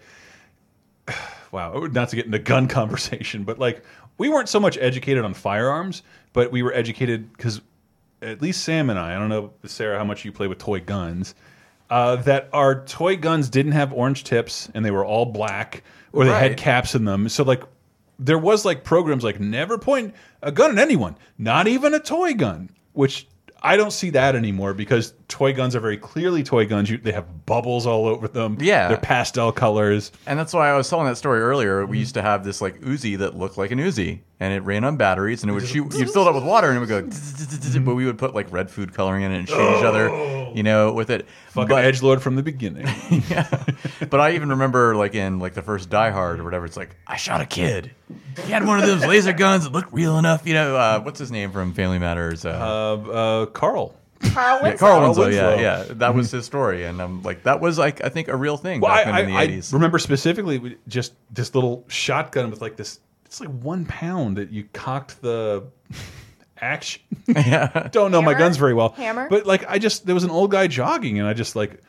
wow, not to get into gun conversation, but like we weren't so much educated on firearms, but we were educated because at least Sam and I, I don't know Sarah how much you play with toy guns. Uh, that our toy guns didn't have orange tips and they were all black or they had Right. caps in them. So like there was like programs like never point a gun at anyone, not even a toy gun, which I don't see that anymore because toy guns are very clearly toy guns. You, they have bubbles all over them. Yeah. They're pastel colors. And that's why I was telling that story earlier. Mm-hmm. We used to have this like Uzi that looked like an Uzi, and it ran on batteries, and it would shoot. You'd fill it up with water, and it would go. zzzz, Mm-hmm. but we would put like red food coloring in it and shoot each other, you know, with it. Oh. Fucking But- edge lord from the beginning. But I even remember, like in like the first Die Hard or whatever, it's like I shot a kid. He had one of those laser guns that looked real enough. You know, uh, what's his name from Family Matters? Uh, uh, uh, Carl. Carl yeah, Winslow. Carl Winslow. Winslow. Mm-hmm. Yeah, yeah, that was his story, and I'm like, that was like I think a real thing Well, I, back then I, in the I '80s. remember specifically we- just this little shotgun with like this. It's like one pound that you cocked the action. Don't know my Hammer? guns very well. Hammer? But like I just there was an old guy jogging and I just like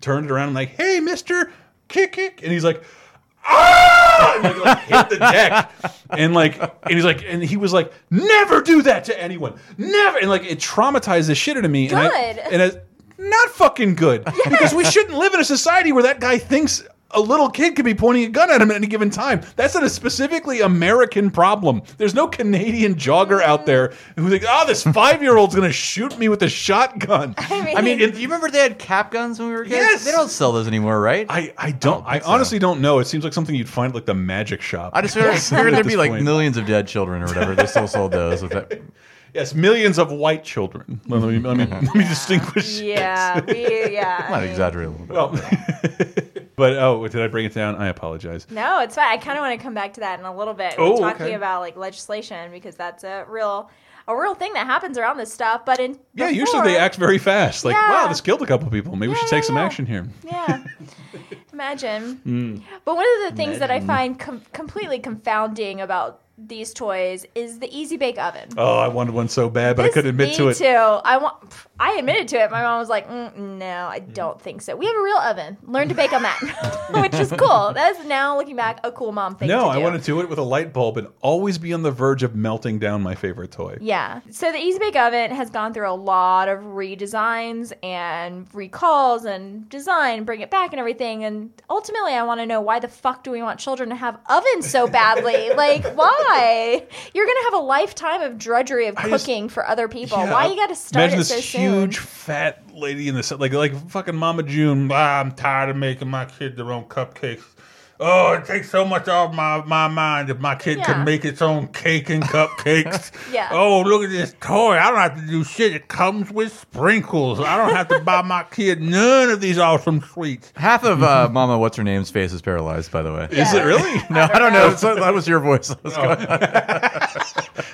turned it around and like, hey, Mister, kick kick, and he's like. Ah! And, like, like, hit the deck, and like, and he's like, and he was like, never do that to anyone, never, and like, it traumatized the shit out of me. And I- Good. and and it's not fucking good because we shouldn't live in a society where that guy thinks a little kid could be pointing a gun at him at any given time. That's a specifically American problem. There's no Canadian jogger out there who thinks, "Oh, this five-year-old's going to shoot me with a shotgun." I mean- I mean, do you remember they had cap guns when we were kids? Yes! They don't sell those anymore, right? I, don't. I, think so. honestly don't know. It seems like something you'd find at, like the magic shop. I just figured, figured At there'd be this like point. millions of dead children or whatever. They still sold those. With that. yes, millions of white children. Let me let me, let me distinguish. Yeah, we, yeah. I Might mean- exaggerate a little bit. Well, but oh, did I bring it down? I apologize. No, it's fine. I kind of want to come back to that in a little bit. Oh, We're talking okay. about like legislation because that's a real, a real thing that happens around this stuff. But in Yeah, usually they before- act very fast. Like, Yeah. wow, this killed a couple people. Maybe we should Yeah, take some yeah. action here. Yeah, imagine. Hmm. But one of the things that I find com- completely confounding about these toys is the easy bake oven. Oh, I wanted one so bad, but I This- couldn't admit me to it. Too. I want. pff, I admitted to it. My mom was like, mm, "No, I Hmm. don't think so." We have a real oven. Learn to bake on that, which is cool. That's now looking back a cool mom thing. No, to I do. want to do it with a light bulb and always be on the verge of melting down my favorite toy. Yeah. So the Easy Bake Oven has gone through a lot of redesigns and recalls and design, bring it back and everything. And ultimately, I want to know why the fuck do we want children to have ovens so badly? like, why? You're going to have a lifetime of drudgery of just- cooking for other people. Yeah. why you got to start Imagine it this so huge soon? fat lady in the like like fucking Mama June. Ah, I'm tired of making my kid their own cupcakes. Oh, it takes so much off my, my mind if my kid Yeah. could make its own cake and cupcakes. Yeah. Oh, look at this toy. I don't have to do shit. It comes with sprinkles. I don't have to buy my kid none of these awesome sweets. Half of uh, Mama, what's her name's face is paralyzed. By the way, Is it really? no, I don't know. So that was your voice. Let's go.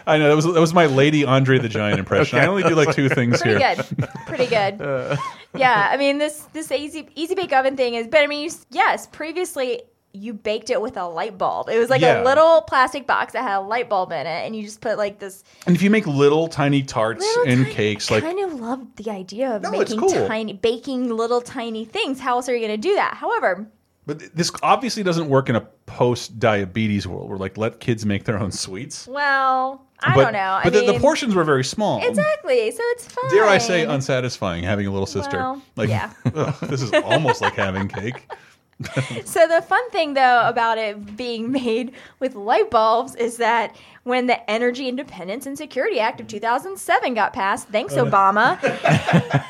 I know that was that was my Lady Andre the Giant impression. I only do like two things Pretty here. good. Pretty Uh. good. yeah. I mean, this this Easy Easy Bake Oven thing is, but I mean, you, s- yes, previously. you baked it with a light bulb. It was like Yeah. a little plastic box that had a light bulb in it, and you just put like this And if you make little tiny tarts little and tiny- cakes, I like kind of loved the idea of No, it's making cool. tiny baking little tiny things. How else are you going to do that? However, But th- this obviously doesn't work in a post-diabetes world where like let kids make their own sweets. well, I but, don't know. But I the, the mean, portions were very small. exactly. So it's fine. Dare I say unsatisfying having a little sister? Well, like yeah. ugh, this is almost like having cake. So the fun thing though about it being made with light bulbs is that when the Energy Independence and Security Act of 2007 got passed, thanks Uh. Obama,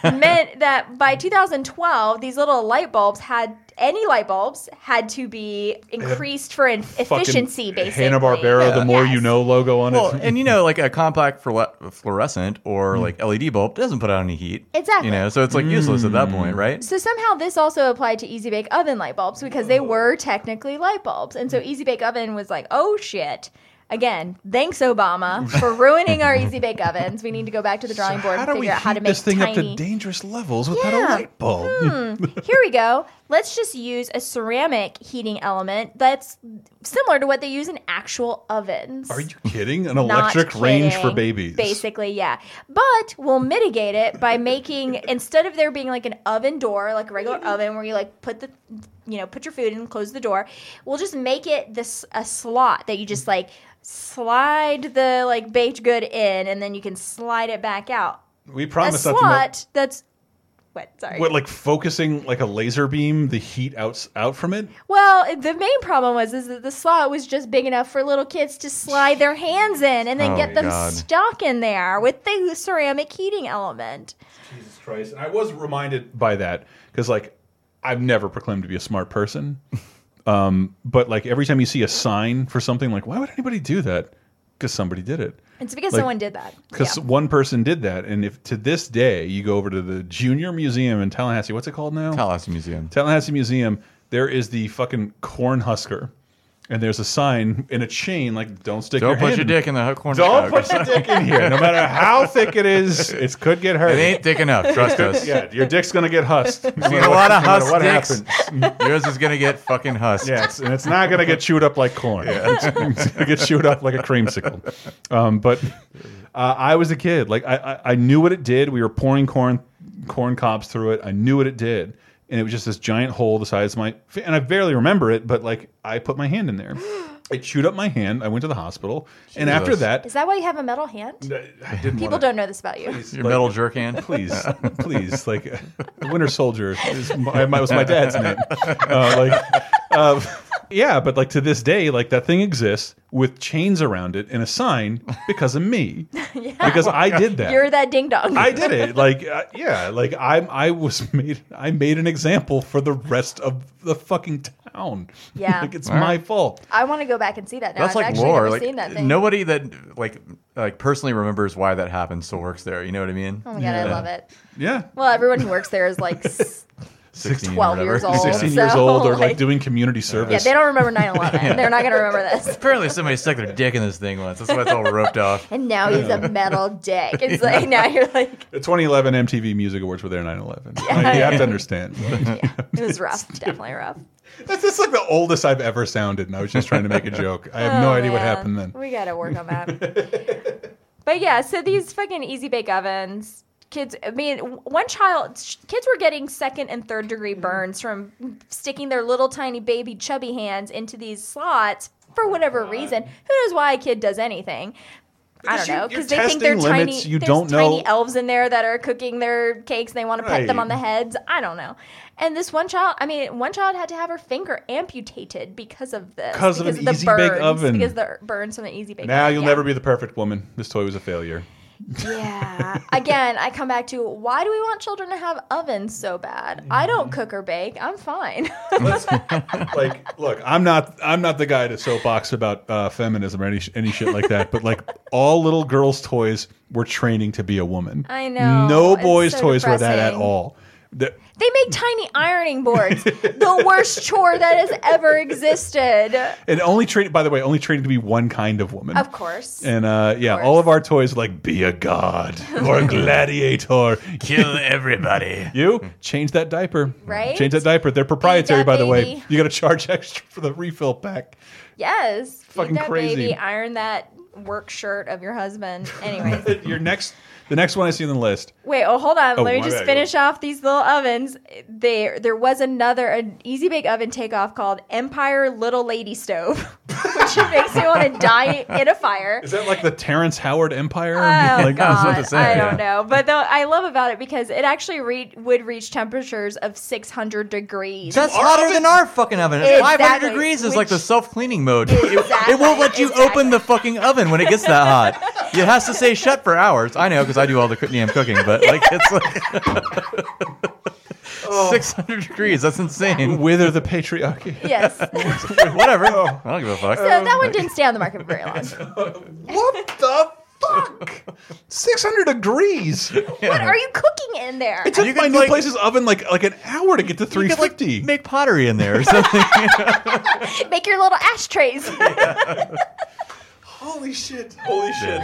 meant that by 2012 these little light bulbs had any light bulbs had to be increased for in- efficiency Fucking basically. Hanna Barbera, the more you Yes. know logo on Well, it. and you know, like a compact fluor- fluorescent or like LED bulb doesn't put out any heat. Exactly. You know, so it's like useless at that point, right? So somehow this also applied to Easy Bake Oven light bulbs because they Oh. were technically light bulbs. And so Mm-hmm. Easy Bake Oven was like, oh shit. Again, thanks Obama for ruining our Easy Bake Ovens. We need to go back to the drawing board how do and we figure out how to heat make this thing up tiny. to dangerous levels without a Yeah. Hmm. light bulb? Here we go. Let's just use a ceramic heating element that's similar to what they use in actual ovens. Are you kidding? An Not electric range for kidding. babies. Basically, yeah. But we'll mitigate it by making instead of there being like an oven door, like a regular oven where you like put the you know, put your food in and close the door, we'll just make it this a slot that you just like slide the like baked good in and then you can slide it back out. We A promise not to melt- slot that's what, sorry. What like focusing like a laser beam the heat out out from it? Well, the main problem was is that the slot was just big enough for little kids to slide their hands in and then Oh, get them God. stuck in there with the ceramic heating element. Jesus Christ! And I was reminded by that because like I've never proclaimed to be a smart person, um, but like every time you see a sign for something, like why would anybody do that? Because somebody did it. It's because Like, someone did that. Because Yeah. one person did that, and if to this day you go over to the Junior Museum in Tallahassee, what's it called now? Tallahassee Museum. Tallahassee Museum, there is the fucking corn husker, and there's a sign in a chain like "Don't stick Don't your put hand your in- dick in the hook corner. Don't put your dick in here, no matter how thick it is. It could get hurt. It ain't thick enough. Trust us. yeah, your dick's gonna get hussed. No a lot of matter husk what dicks. happens. Yours is gonna get fucking husked. Yes, and it's not gonna get chewed up like corn. It's, it's gonna get chewed up like a creamsicle. Um, but uh, I was a kid. Like I, I, I knew what it did. We were pouring corn corn cobs through it. I knew what it did, and it was just this giant hole the size of my. fi- And I barely remember it, but like I put my hand in there. It chewed up my hand. I went to the hospital, and after Jesus. that, Is that why you have a metal hand? I didn't People wanna- don't know this about you. Your metal jerk hand. please, please, like uh, the Winter Soldier is my, my, was my dad's name. Uh, like, uh, yeah, but like to this day, like that thing exists with chains around it and a sign because of me, because I did that. You're that ding dong. I did it. Like, uh, yeah, like I, I was made, I made an example for the rest of the fucking town. Yeah. like it's All my right. fault. I want to go back and see that now. That's I've like actually lore. never Like seen that thing. Oh nobody that like like personally remembers why that happened still works there. You know what I mean? Oh my god, I love it. Yeah, Well, everyone who works there is like, s- 16 or 12 whatever. years old. sixteen So, years old or like, like- doing community yeah, service. they don't remember 9 11. They're not going to remember this. Apparently somebody stuck their dick in this thing once. That's why it's all roped off. And now he's a metal dick. It's like, now you're like, The 2011 MTV Music Awards were their 9/11. Like, you have to understand. it was rough. Definitely rough. That's just like the oldest I've ever sounded, and I was just trying to make a joke. I have no Oh, idea what man. happened then. We gotta work on that. but yeah, so these fucking easy bake ovens, kids. I mean, w- one child, sh- kids were getting second and third degree Mm-hmm. burns from sticking their little tiny baby chubby hands into these slots for whatever reason. Who knows why a kid does anything. I Because don't you- know you're because they think they're testing limits, tiny. you there's don't tiny know- elves in there that are cooking their cakes. and They want to pet them Right. on the heads. I don't know. And this one child, I mean, one child had to have her finger amputated because of this Because of an the Easy Bake burns, Oven. Because the burns from an easy bake. Now oven, you'll yeah. never be the perfect woman. This toy was a failure. Yeah. Again, I come back to why do we want children to have ovens so bad? I Mm-hmm. don't cook or bake. I'm fine. like, look, I'm not, I'm not the guy to soapbox about uh, feminism or any sh- any shit like that. But like, all little girls' toys were training to be a woman. I know. No It's boys' so toys were that at depressing. all. The, They make tiny ironing boards. the worst chore that has ever existed. and only trained, by the way, only trained to be one kind of woman. Of course. And uh, yeah, all of our toys are like be a god or a gladiator. Kill everybody. You change that diaper, Right? Change that diaper. They're proprietary, that by the way. baby. You got to charge extra for the refill pack. yes. Feed Fucking that crazy. baby, iron that work shirt of your husband. Anyways. Your next, the next one I see on the list. Wait, oh hold on. Oh, Let me my just bad. finish off these little ovens. There there was another an easy bake oven takeoff called Empire Little Lady Stove, which makes me want to die in a fire. Is that like the Terrence Howard Empire? Oh, like, I was about God, to say, I don't yeah. know, but though I love about it because it actually re- would reach temperatures of 600 degrees. That's hotter than our fucking oven. It's 500 Exactly, degrees is which- like the self cleaning mode. Exactly, It won't let you open the fucking oven when it gets that hot. It has to say shut for hours. I know because I do all the coo- damn cooking, but like it's like Oh. 600 degrees. That's insane. wither the patriarchy. yes. So Whatever. I don't give a fuck. that one didn't stay on the market for very long. What the fuck? 600 degrees. What are you cooking in there? It took You my could, new like- place's oven like like an hour to get to You could, like, 350. make pottery in there or something. Make your little ashtrays. Holy shit. Holy shit.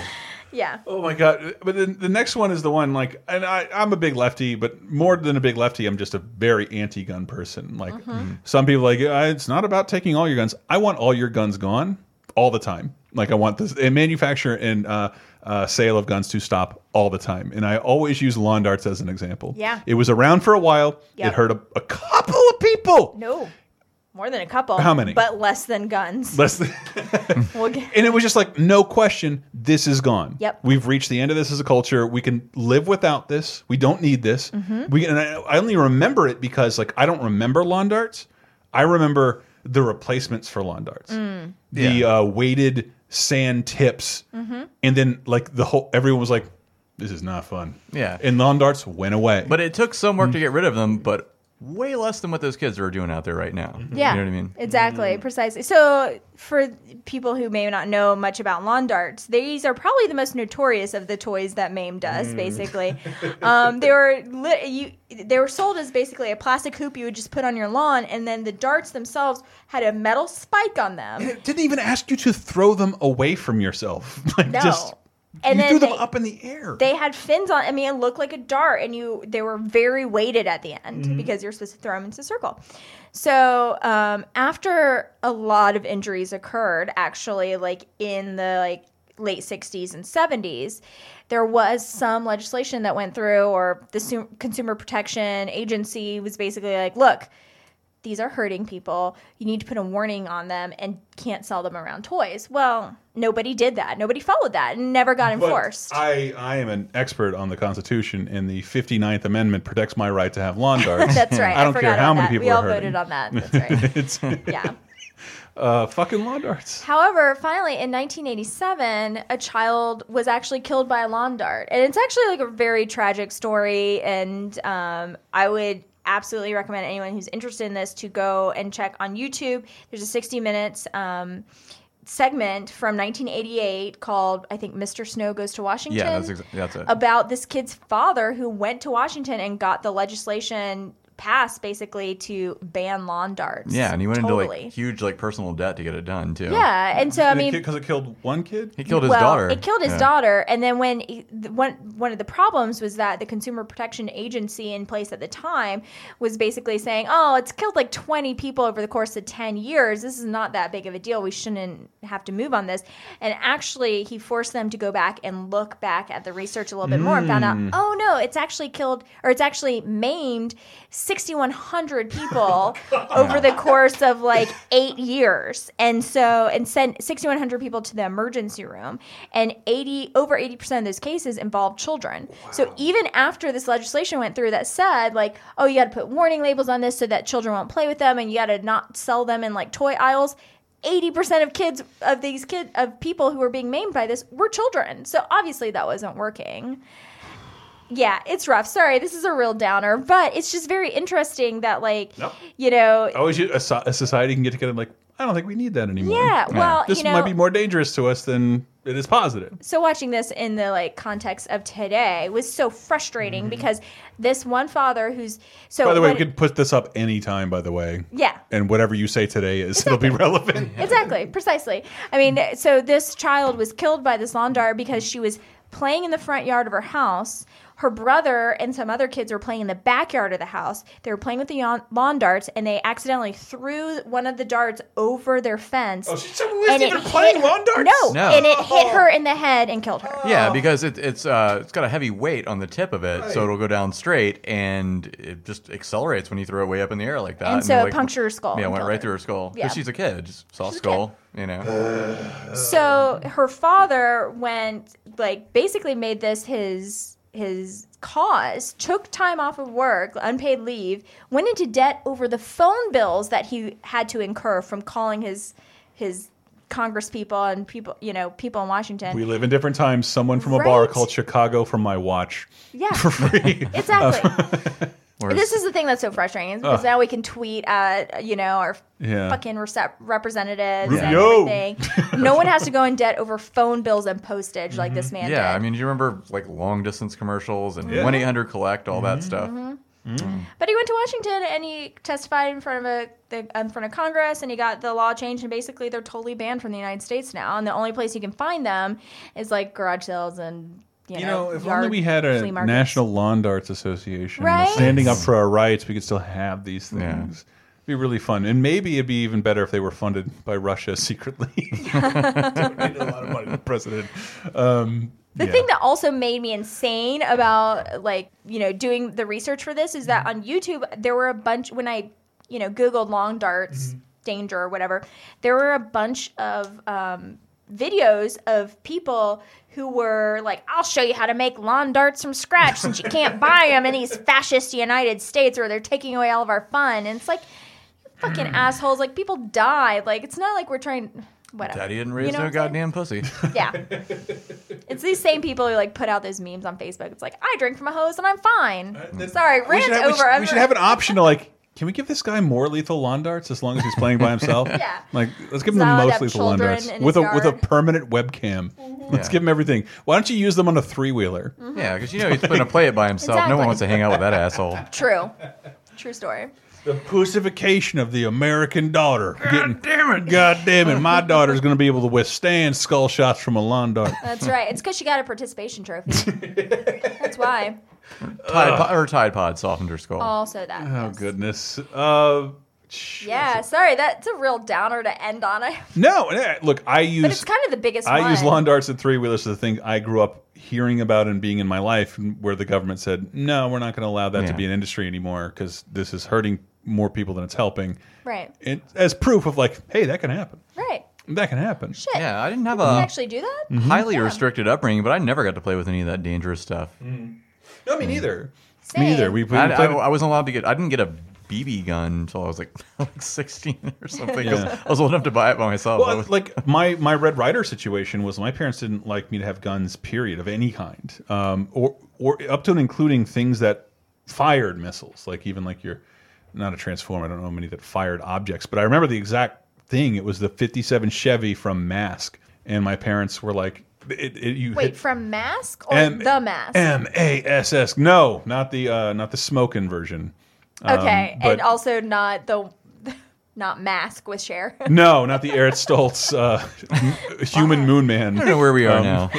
yeah. Oh my god! But then the next one is the one like, and I, I'm a big lefty, but more than a big lefty, I'm just a very anti-gun person. Like Mm-hmm. some people, are like "Uh, it's not about taking all your guns. I want all your guns gone all the time. Like I want this and manufacture and uh, uh, sale of guns to stop all the time. And I always use lawn darts as an example. Yeah. it was around for a while. It Yep. hurt a, a couple of people. No. More than a couple. How many? But less than guns. Less than. We'll get- And it was just like, no question, this is gone. Yep. We've reached the end of this as a culture. We can live without this. We don't need this. Mm-hmm. We and I, I only remember it because like I don't remember lawn darts. I remember the replacements for lawn darts. Mm. The uh, weighted sand tips. Mm-hmm. And then like the whole everyone was like, This is not fun. Yeah. And lawn darts went away. But it took some work to get rid of them, but way less than what those kids are doing out there right now. Mm-hmm. Yeah. You know what I mean? Exactly, Mm. precisely. So, for people who may not know much about lawn darts, these are probably the most notorious of the toys that MAME does, Mm. basically. um, they were lit, you, they were sold as basically a plastic hoop you would just put on your lawn, and then the darts themselves had a metal spike on them. it didn't even ask you to throw them away from yourself. Like No. just and you then threw them they- up in the air. they had fins on. I mean, it looked like a dart, and you they were very weighted at the end because you're supposed to throw them into a circle. So um, after a lot of injuries occurred, actually, like in the like late 60s and 70s there was some legislation that went through or the su- consumer protection agency was basically like look these are hurting people. You need to put a warning on them and can't sell them around toys. Well, nobody did that. Nobody followed that and never got But enforced. I, I am an expert on the Constitution, and the 59th Amendment protects my right to have lawn darts. That's right. I don't forgot care how about many that. people We are all hurting. voted on that. That's right. It's yeah. uh, fucking lawn darts. However, finally in 1987, a child was actually killed by a lawn dart, and it's actually like a very tragic story. And um, I would absolutely recommend anyone who's interested in this to go and check on YouTube. There's a 60 Minutes. Um, segment from 1988 called I think Mr. Snow goes to Washington Yeah, that's, exa- that's it. about this kid's father who went to Washington and got the legislation passed basically to ban lawn darts. Yeah, and he went into Totally. like huge like personal debt to get it done too. Yeah, and so I mean, because it killed one kid. He killed his well, daughter. it killed his Yeah. daughter, and then when he- the- one one of the problems was that the Consumer Protection Agency in place at the time was basically saying, "Oh, it's killed like twenty people over the course of ten years. This is not that big of a deal. We shouldn't have to move on this." And actually, he forced them to go back and look back at the research a little bit more and found out, Mm. "Oh no, it's actually killed or it's actually maimed sixty one hundred people Oh, over the course of like eight years." And so, and sent sixty one hundred people to the emergency room, and eighty over eighty percent of those cases involved children. So even after this legislation went through that said like, "Oh, you got to put warning labels on this so that children won't play with them, and you got to not sell them in like toy aisles." 80% of kids of these kid of people who were being maimed by this were children. So obviously that wasn't working. Yeah, it's rough. Sorry, this is a real downer, but it's just very interesting that like No. you know, I always a, so- a society can get together and like, I don't think we need that anymore. yeah, well, This you know, might be more dangerous to us than It is positive. so watching this in the like context of today was so frustrating because this one father who's so Mm-hmm. By the way, we what- could put this up anytime, by the way. yeah And whatever you say today is, it'll be relevant. exactly precisely i mean Mm-hmm. so this child was killed by this lawn dart because she was playing in the front yard of her house her brother and some other kids were playing in the backyard of the house they were playing with the yawn- lawn darts and they accidentally threw one of the darts over their fence Oh, she- someone wasn't even hit playing her- lawn darts? no, No. and it hit her in the head and killed her Yeah, because it, it's uh, it's got a heavy weight on the tip of it, so it'll go down straight, and it just accelerates when you throw it way up in the air like that. And so it like, punctured her skull Yeah, it and went killed right her. through her skull. Yeah. Yeah. she's a kid, just saw skull. You know, So her father went like basically made this his his cause, took time off of work, unpaid leave, went into debt over the phone bills that he had to incur from calling his his congress people and people you know, people in Washington. We live in different times. Someone from a bar Right. called Chicago from my watch. yeah. Free. Exactly. Whereas- this is the thing that's so frustrating is because now we can tweet at you know our Yeah. fucking recep- representatives and Rubio. everything. no one has to go in debt over phone bills and postage like this Mm-hmm. man yeah. did. I mean, do you remember like long distance commercials and Yeah. one eight hundred collect all Mm-hmm. that stuff? But he went to Washington and he testified in front of a the, in front of Congress and he got the law changed and basically they're totally banned from the United States now and the only place you can find them is like garage sales and you, You know, know, if yard only we had a flea markets. National Lawn Darts Association Right? standing up for our rights, we could still have these Yeah. things. It'd be really fun. And maybe it'd be even better if they were funded by Russia secretly. Donate a lot of money to the president. Um, The yeah. thing that also made me insane about like, you know, doing the research for this is that Mm-hmm. on YouTube there were a bunch when I, you know, googled long darts Mm-hmm. danger or whatever, there were a bunch of um videos of people who were like i'll show you how to make lawn darts from scratch since you can't buy them in these fascist united states or they're taking away all of our fun and it's like you fucking Mm. assholes like people die like it's not like we're trying whatever Daddy didn't raise know what no I'm goddamn saying? pussy. Yeah. it's these same people who like put out those memes on Facebook. It's like, I drink from a hose and I'm fine. Sorry, Uh, We rant should, have, we over. should- we I'm- should have an option to like, can we give this guy more lethal lawn darts as long as he's playing by himself? Yeah. Like, let's give him the He's allowed to most have lethal lawn children darts in with a his with a yard. Mm-hmm. permanent webcam. Let's Yeah. give him everything. Why don't you use them on a three wheeler? Yeah, because you know he's going to play it by himself. No Mm-hmm. Exactly. one wants to hang out with that asshole. True. True story. The pussification of the American daughter. God damn it! God damn it! My daughter's going to be able to withstand skull shots from a lawn dart. That's right. It's because she got a participation trophy. That's why. Tide pod, or Tide Pod softened her skull. Also that. Oh goodness. Uh, Yeah, sorry. That's a real downer to end on. I- no. eh, Look, I But it's use kind of the biggest I one. use lawn darts and three wheelers as the thing I grew up hearing about and being in my life, where the government said, "No, we're not going to allow that to Yeah. be an industry anymore because this is hurting more people than it's helping." Right. And as proof of like, hey, that can happen. Right. That can happen. Shit. Yeah, I didn't have You a actually do that? Mm-hmm. highly restricted upbringing, but I never got to play with any of that dangerous stuff. No, me neither. Same. Me neither. We, we I, I, Mm-hmm. played- I wasn't allowed to get. I didn't get a BB gun until I was like, like 16 or something. 'cause Yeah. I was old enough to buy it by myself. I Well, was- like my my Red Rider situation was my parents didn't like me to have guns, period, of any kind, um, or or up to and including things that fired missiles, like even like your not a transformer. I don't know many that fired objects, but I remember the exact thing. It was the '57 Chevy from Mask, and my parents were like, it, it, "You Wait, hit from mask or M- the mask? M A S S. No, not the uh, not the smoking version. Um, okay. but- and also not the not mask with share. no, not the Eric Stoltz uh, m- human moon man. Um, Ah. I don't know where we are now.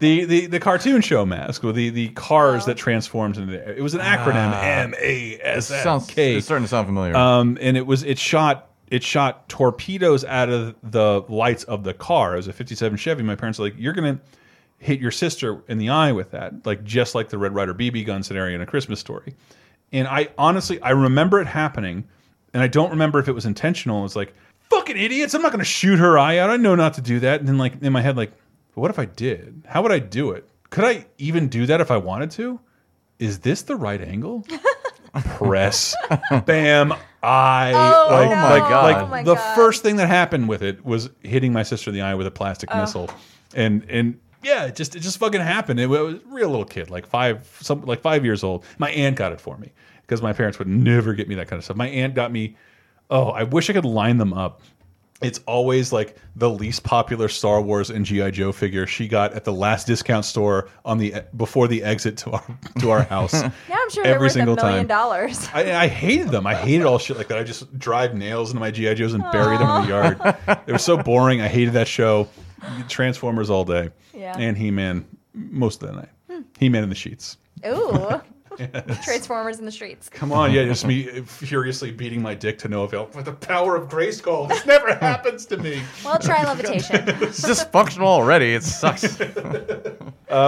the, the the cartoon show mask with the the cars that transforms into the, it was an acronym M A S S Sounds, K It's starting to sound familiar. um and it was it shot it shot torpedoes out of the lights of the car it was a 57 Chevy my parents were like you're going to hit your sister in the eye with that like just like the Red Rider BB gun scenario in a Christmas story and I honestly I remember it happening and I don't remember if it was intentional it's like fucking idiots I'm not going to shoot her eye out I know not to do that and then like in my head like but what if I did how would I do it could I even do that if I wanted to is this the right angle press. Bam. I Oh, like, no. like, Oh, like my the God. first thing that happened with it was hitting my sister in the eye with a plastic missile, and and yeah, it just it just fucking happened. It was a real little kid, like five some like five years old. My aunt got it for me because my parents would never get me that kind of stuff. My aunt got me. Oh, I wish I could line them up. it's always like the least popular Star Wars and GI Joe figure she got at the last discount store on the before the exit to our to our house. now Now I'm sure they're worth a million dollars. I, I hated them. I hated all shit like that. I just drive nails into my GI Joes and bury them in the yard. They were so boring. I hated that show. Transformers all day, Yeah. Hmm. and He Man most of the night. He Man in the sheets. Ooh. Transformers in the streets. Come on, yeah, just me furiously beating my dick to no avail. For the power of Grayskull, this never happens to me. Well, try levitation. It's dysfunctional already. It sucks. Uh,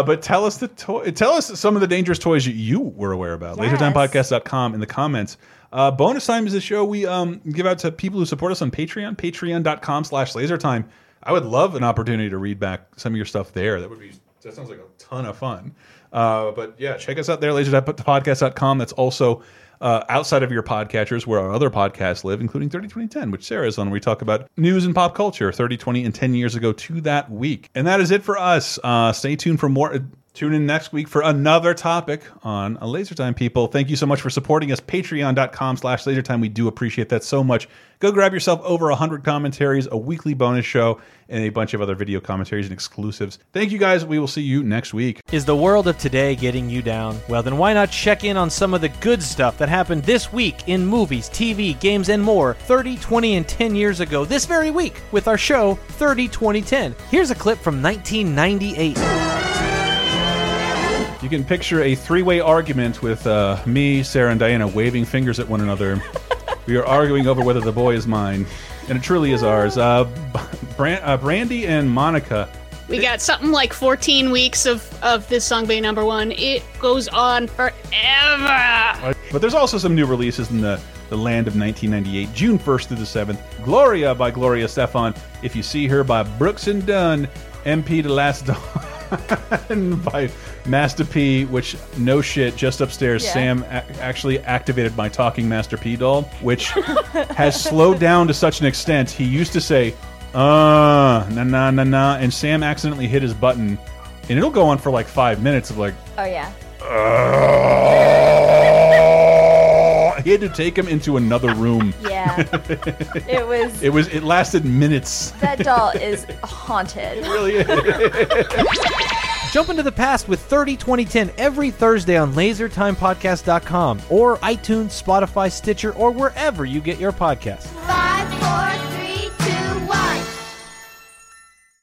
but tell us the toy. Tell us some of the dangerous toys you, you were aware about. Yes. LaserTimePodcast.com in the comments. Uh, bonus time is a show we um, give out to people who support us on Patreon. Patreon.com slash LaserTime. I would love an opportunity to read back some of your stuff there. That would be that sounds like a ton of fun. Uh, but yeah, check us out there, LaserTimePodcast.com. That's also uh, outside of your podcatchers where our other podcasts live, including 30, 20, 10, which Sarah's on, where we talk about news and pop culture 30, 20, and 10 years ago to that week. And that is it for us. Uh, stay tuned for more. Tune in next week for another topic on a Laser Time, people. Thank you so much for supporting us. Patreon.com slash LaserTime. We do appreciate that so much. Go grab yourself over 100 commentaries, a weekly bonus show, and a bunch of other video commentaries and exclusives. Thank you guys. We will see you next week. Is the world of today getting you down? Well, then why not check in on some of the good stuff that happened this week in movies, TV, games, and more 30, 20, and 10 years ago this very week with our show 30, 20, 10. Here's a clip from 1998. You can picture a three-way argument with uh, me, Sarah, and Diana waving fingers at one another. we are arguing over whether the boy is mine, and it truly is ours. Uh, Brand uh, Brandy and Monica. We got something like 14 weeks of, of this song being number one. It goes on forever. But there's also some new releases in the, the land of 1998, June 1st through the 7th. Gloria by Gloria Stefan. If You See Her by Brooks and Dunn. MP to Last Dawn by Master P, which, no shit, just upstairs, Yeah. Sam a actually activated my talking Master P doll, which has slowed down to such an extent. He used to say, uh, na na na na, and Sam accidentally hit his button. And it'll go on for like five minutes of like, Oh, yeah. he had to take him into another room. Yeah. It was. It was. It lasted minutes. That doll is haunted. Really, Jump into the past with 30, 20, 10 every Thursday on lasertimepodcast.com or iTunes, Spotify, Stitcher, or wherever you get your podcasts.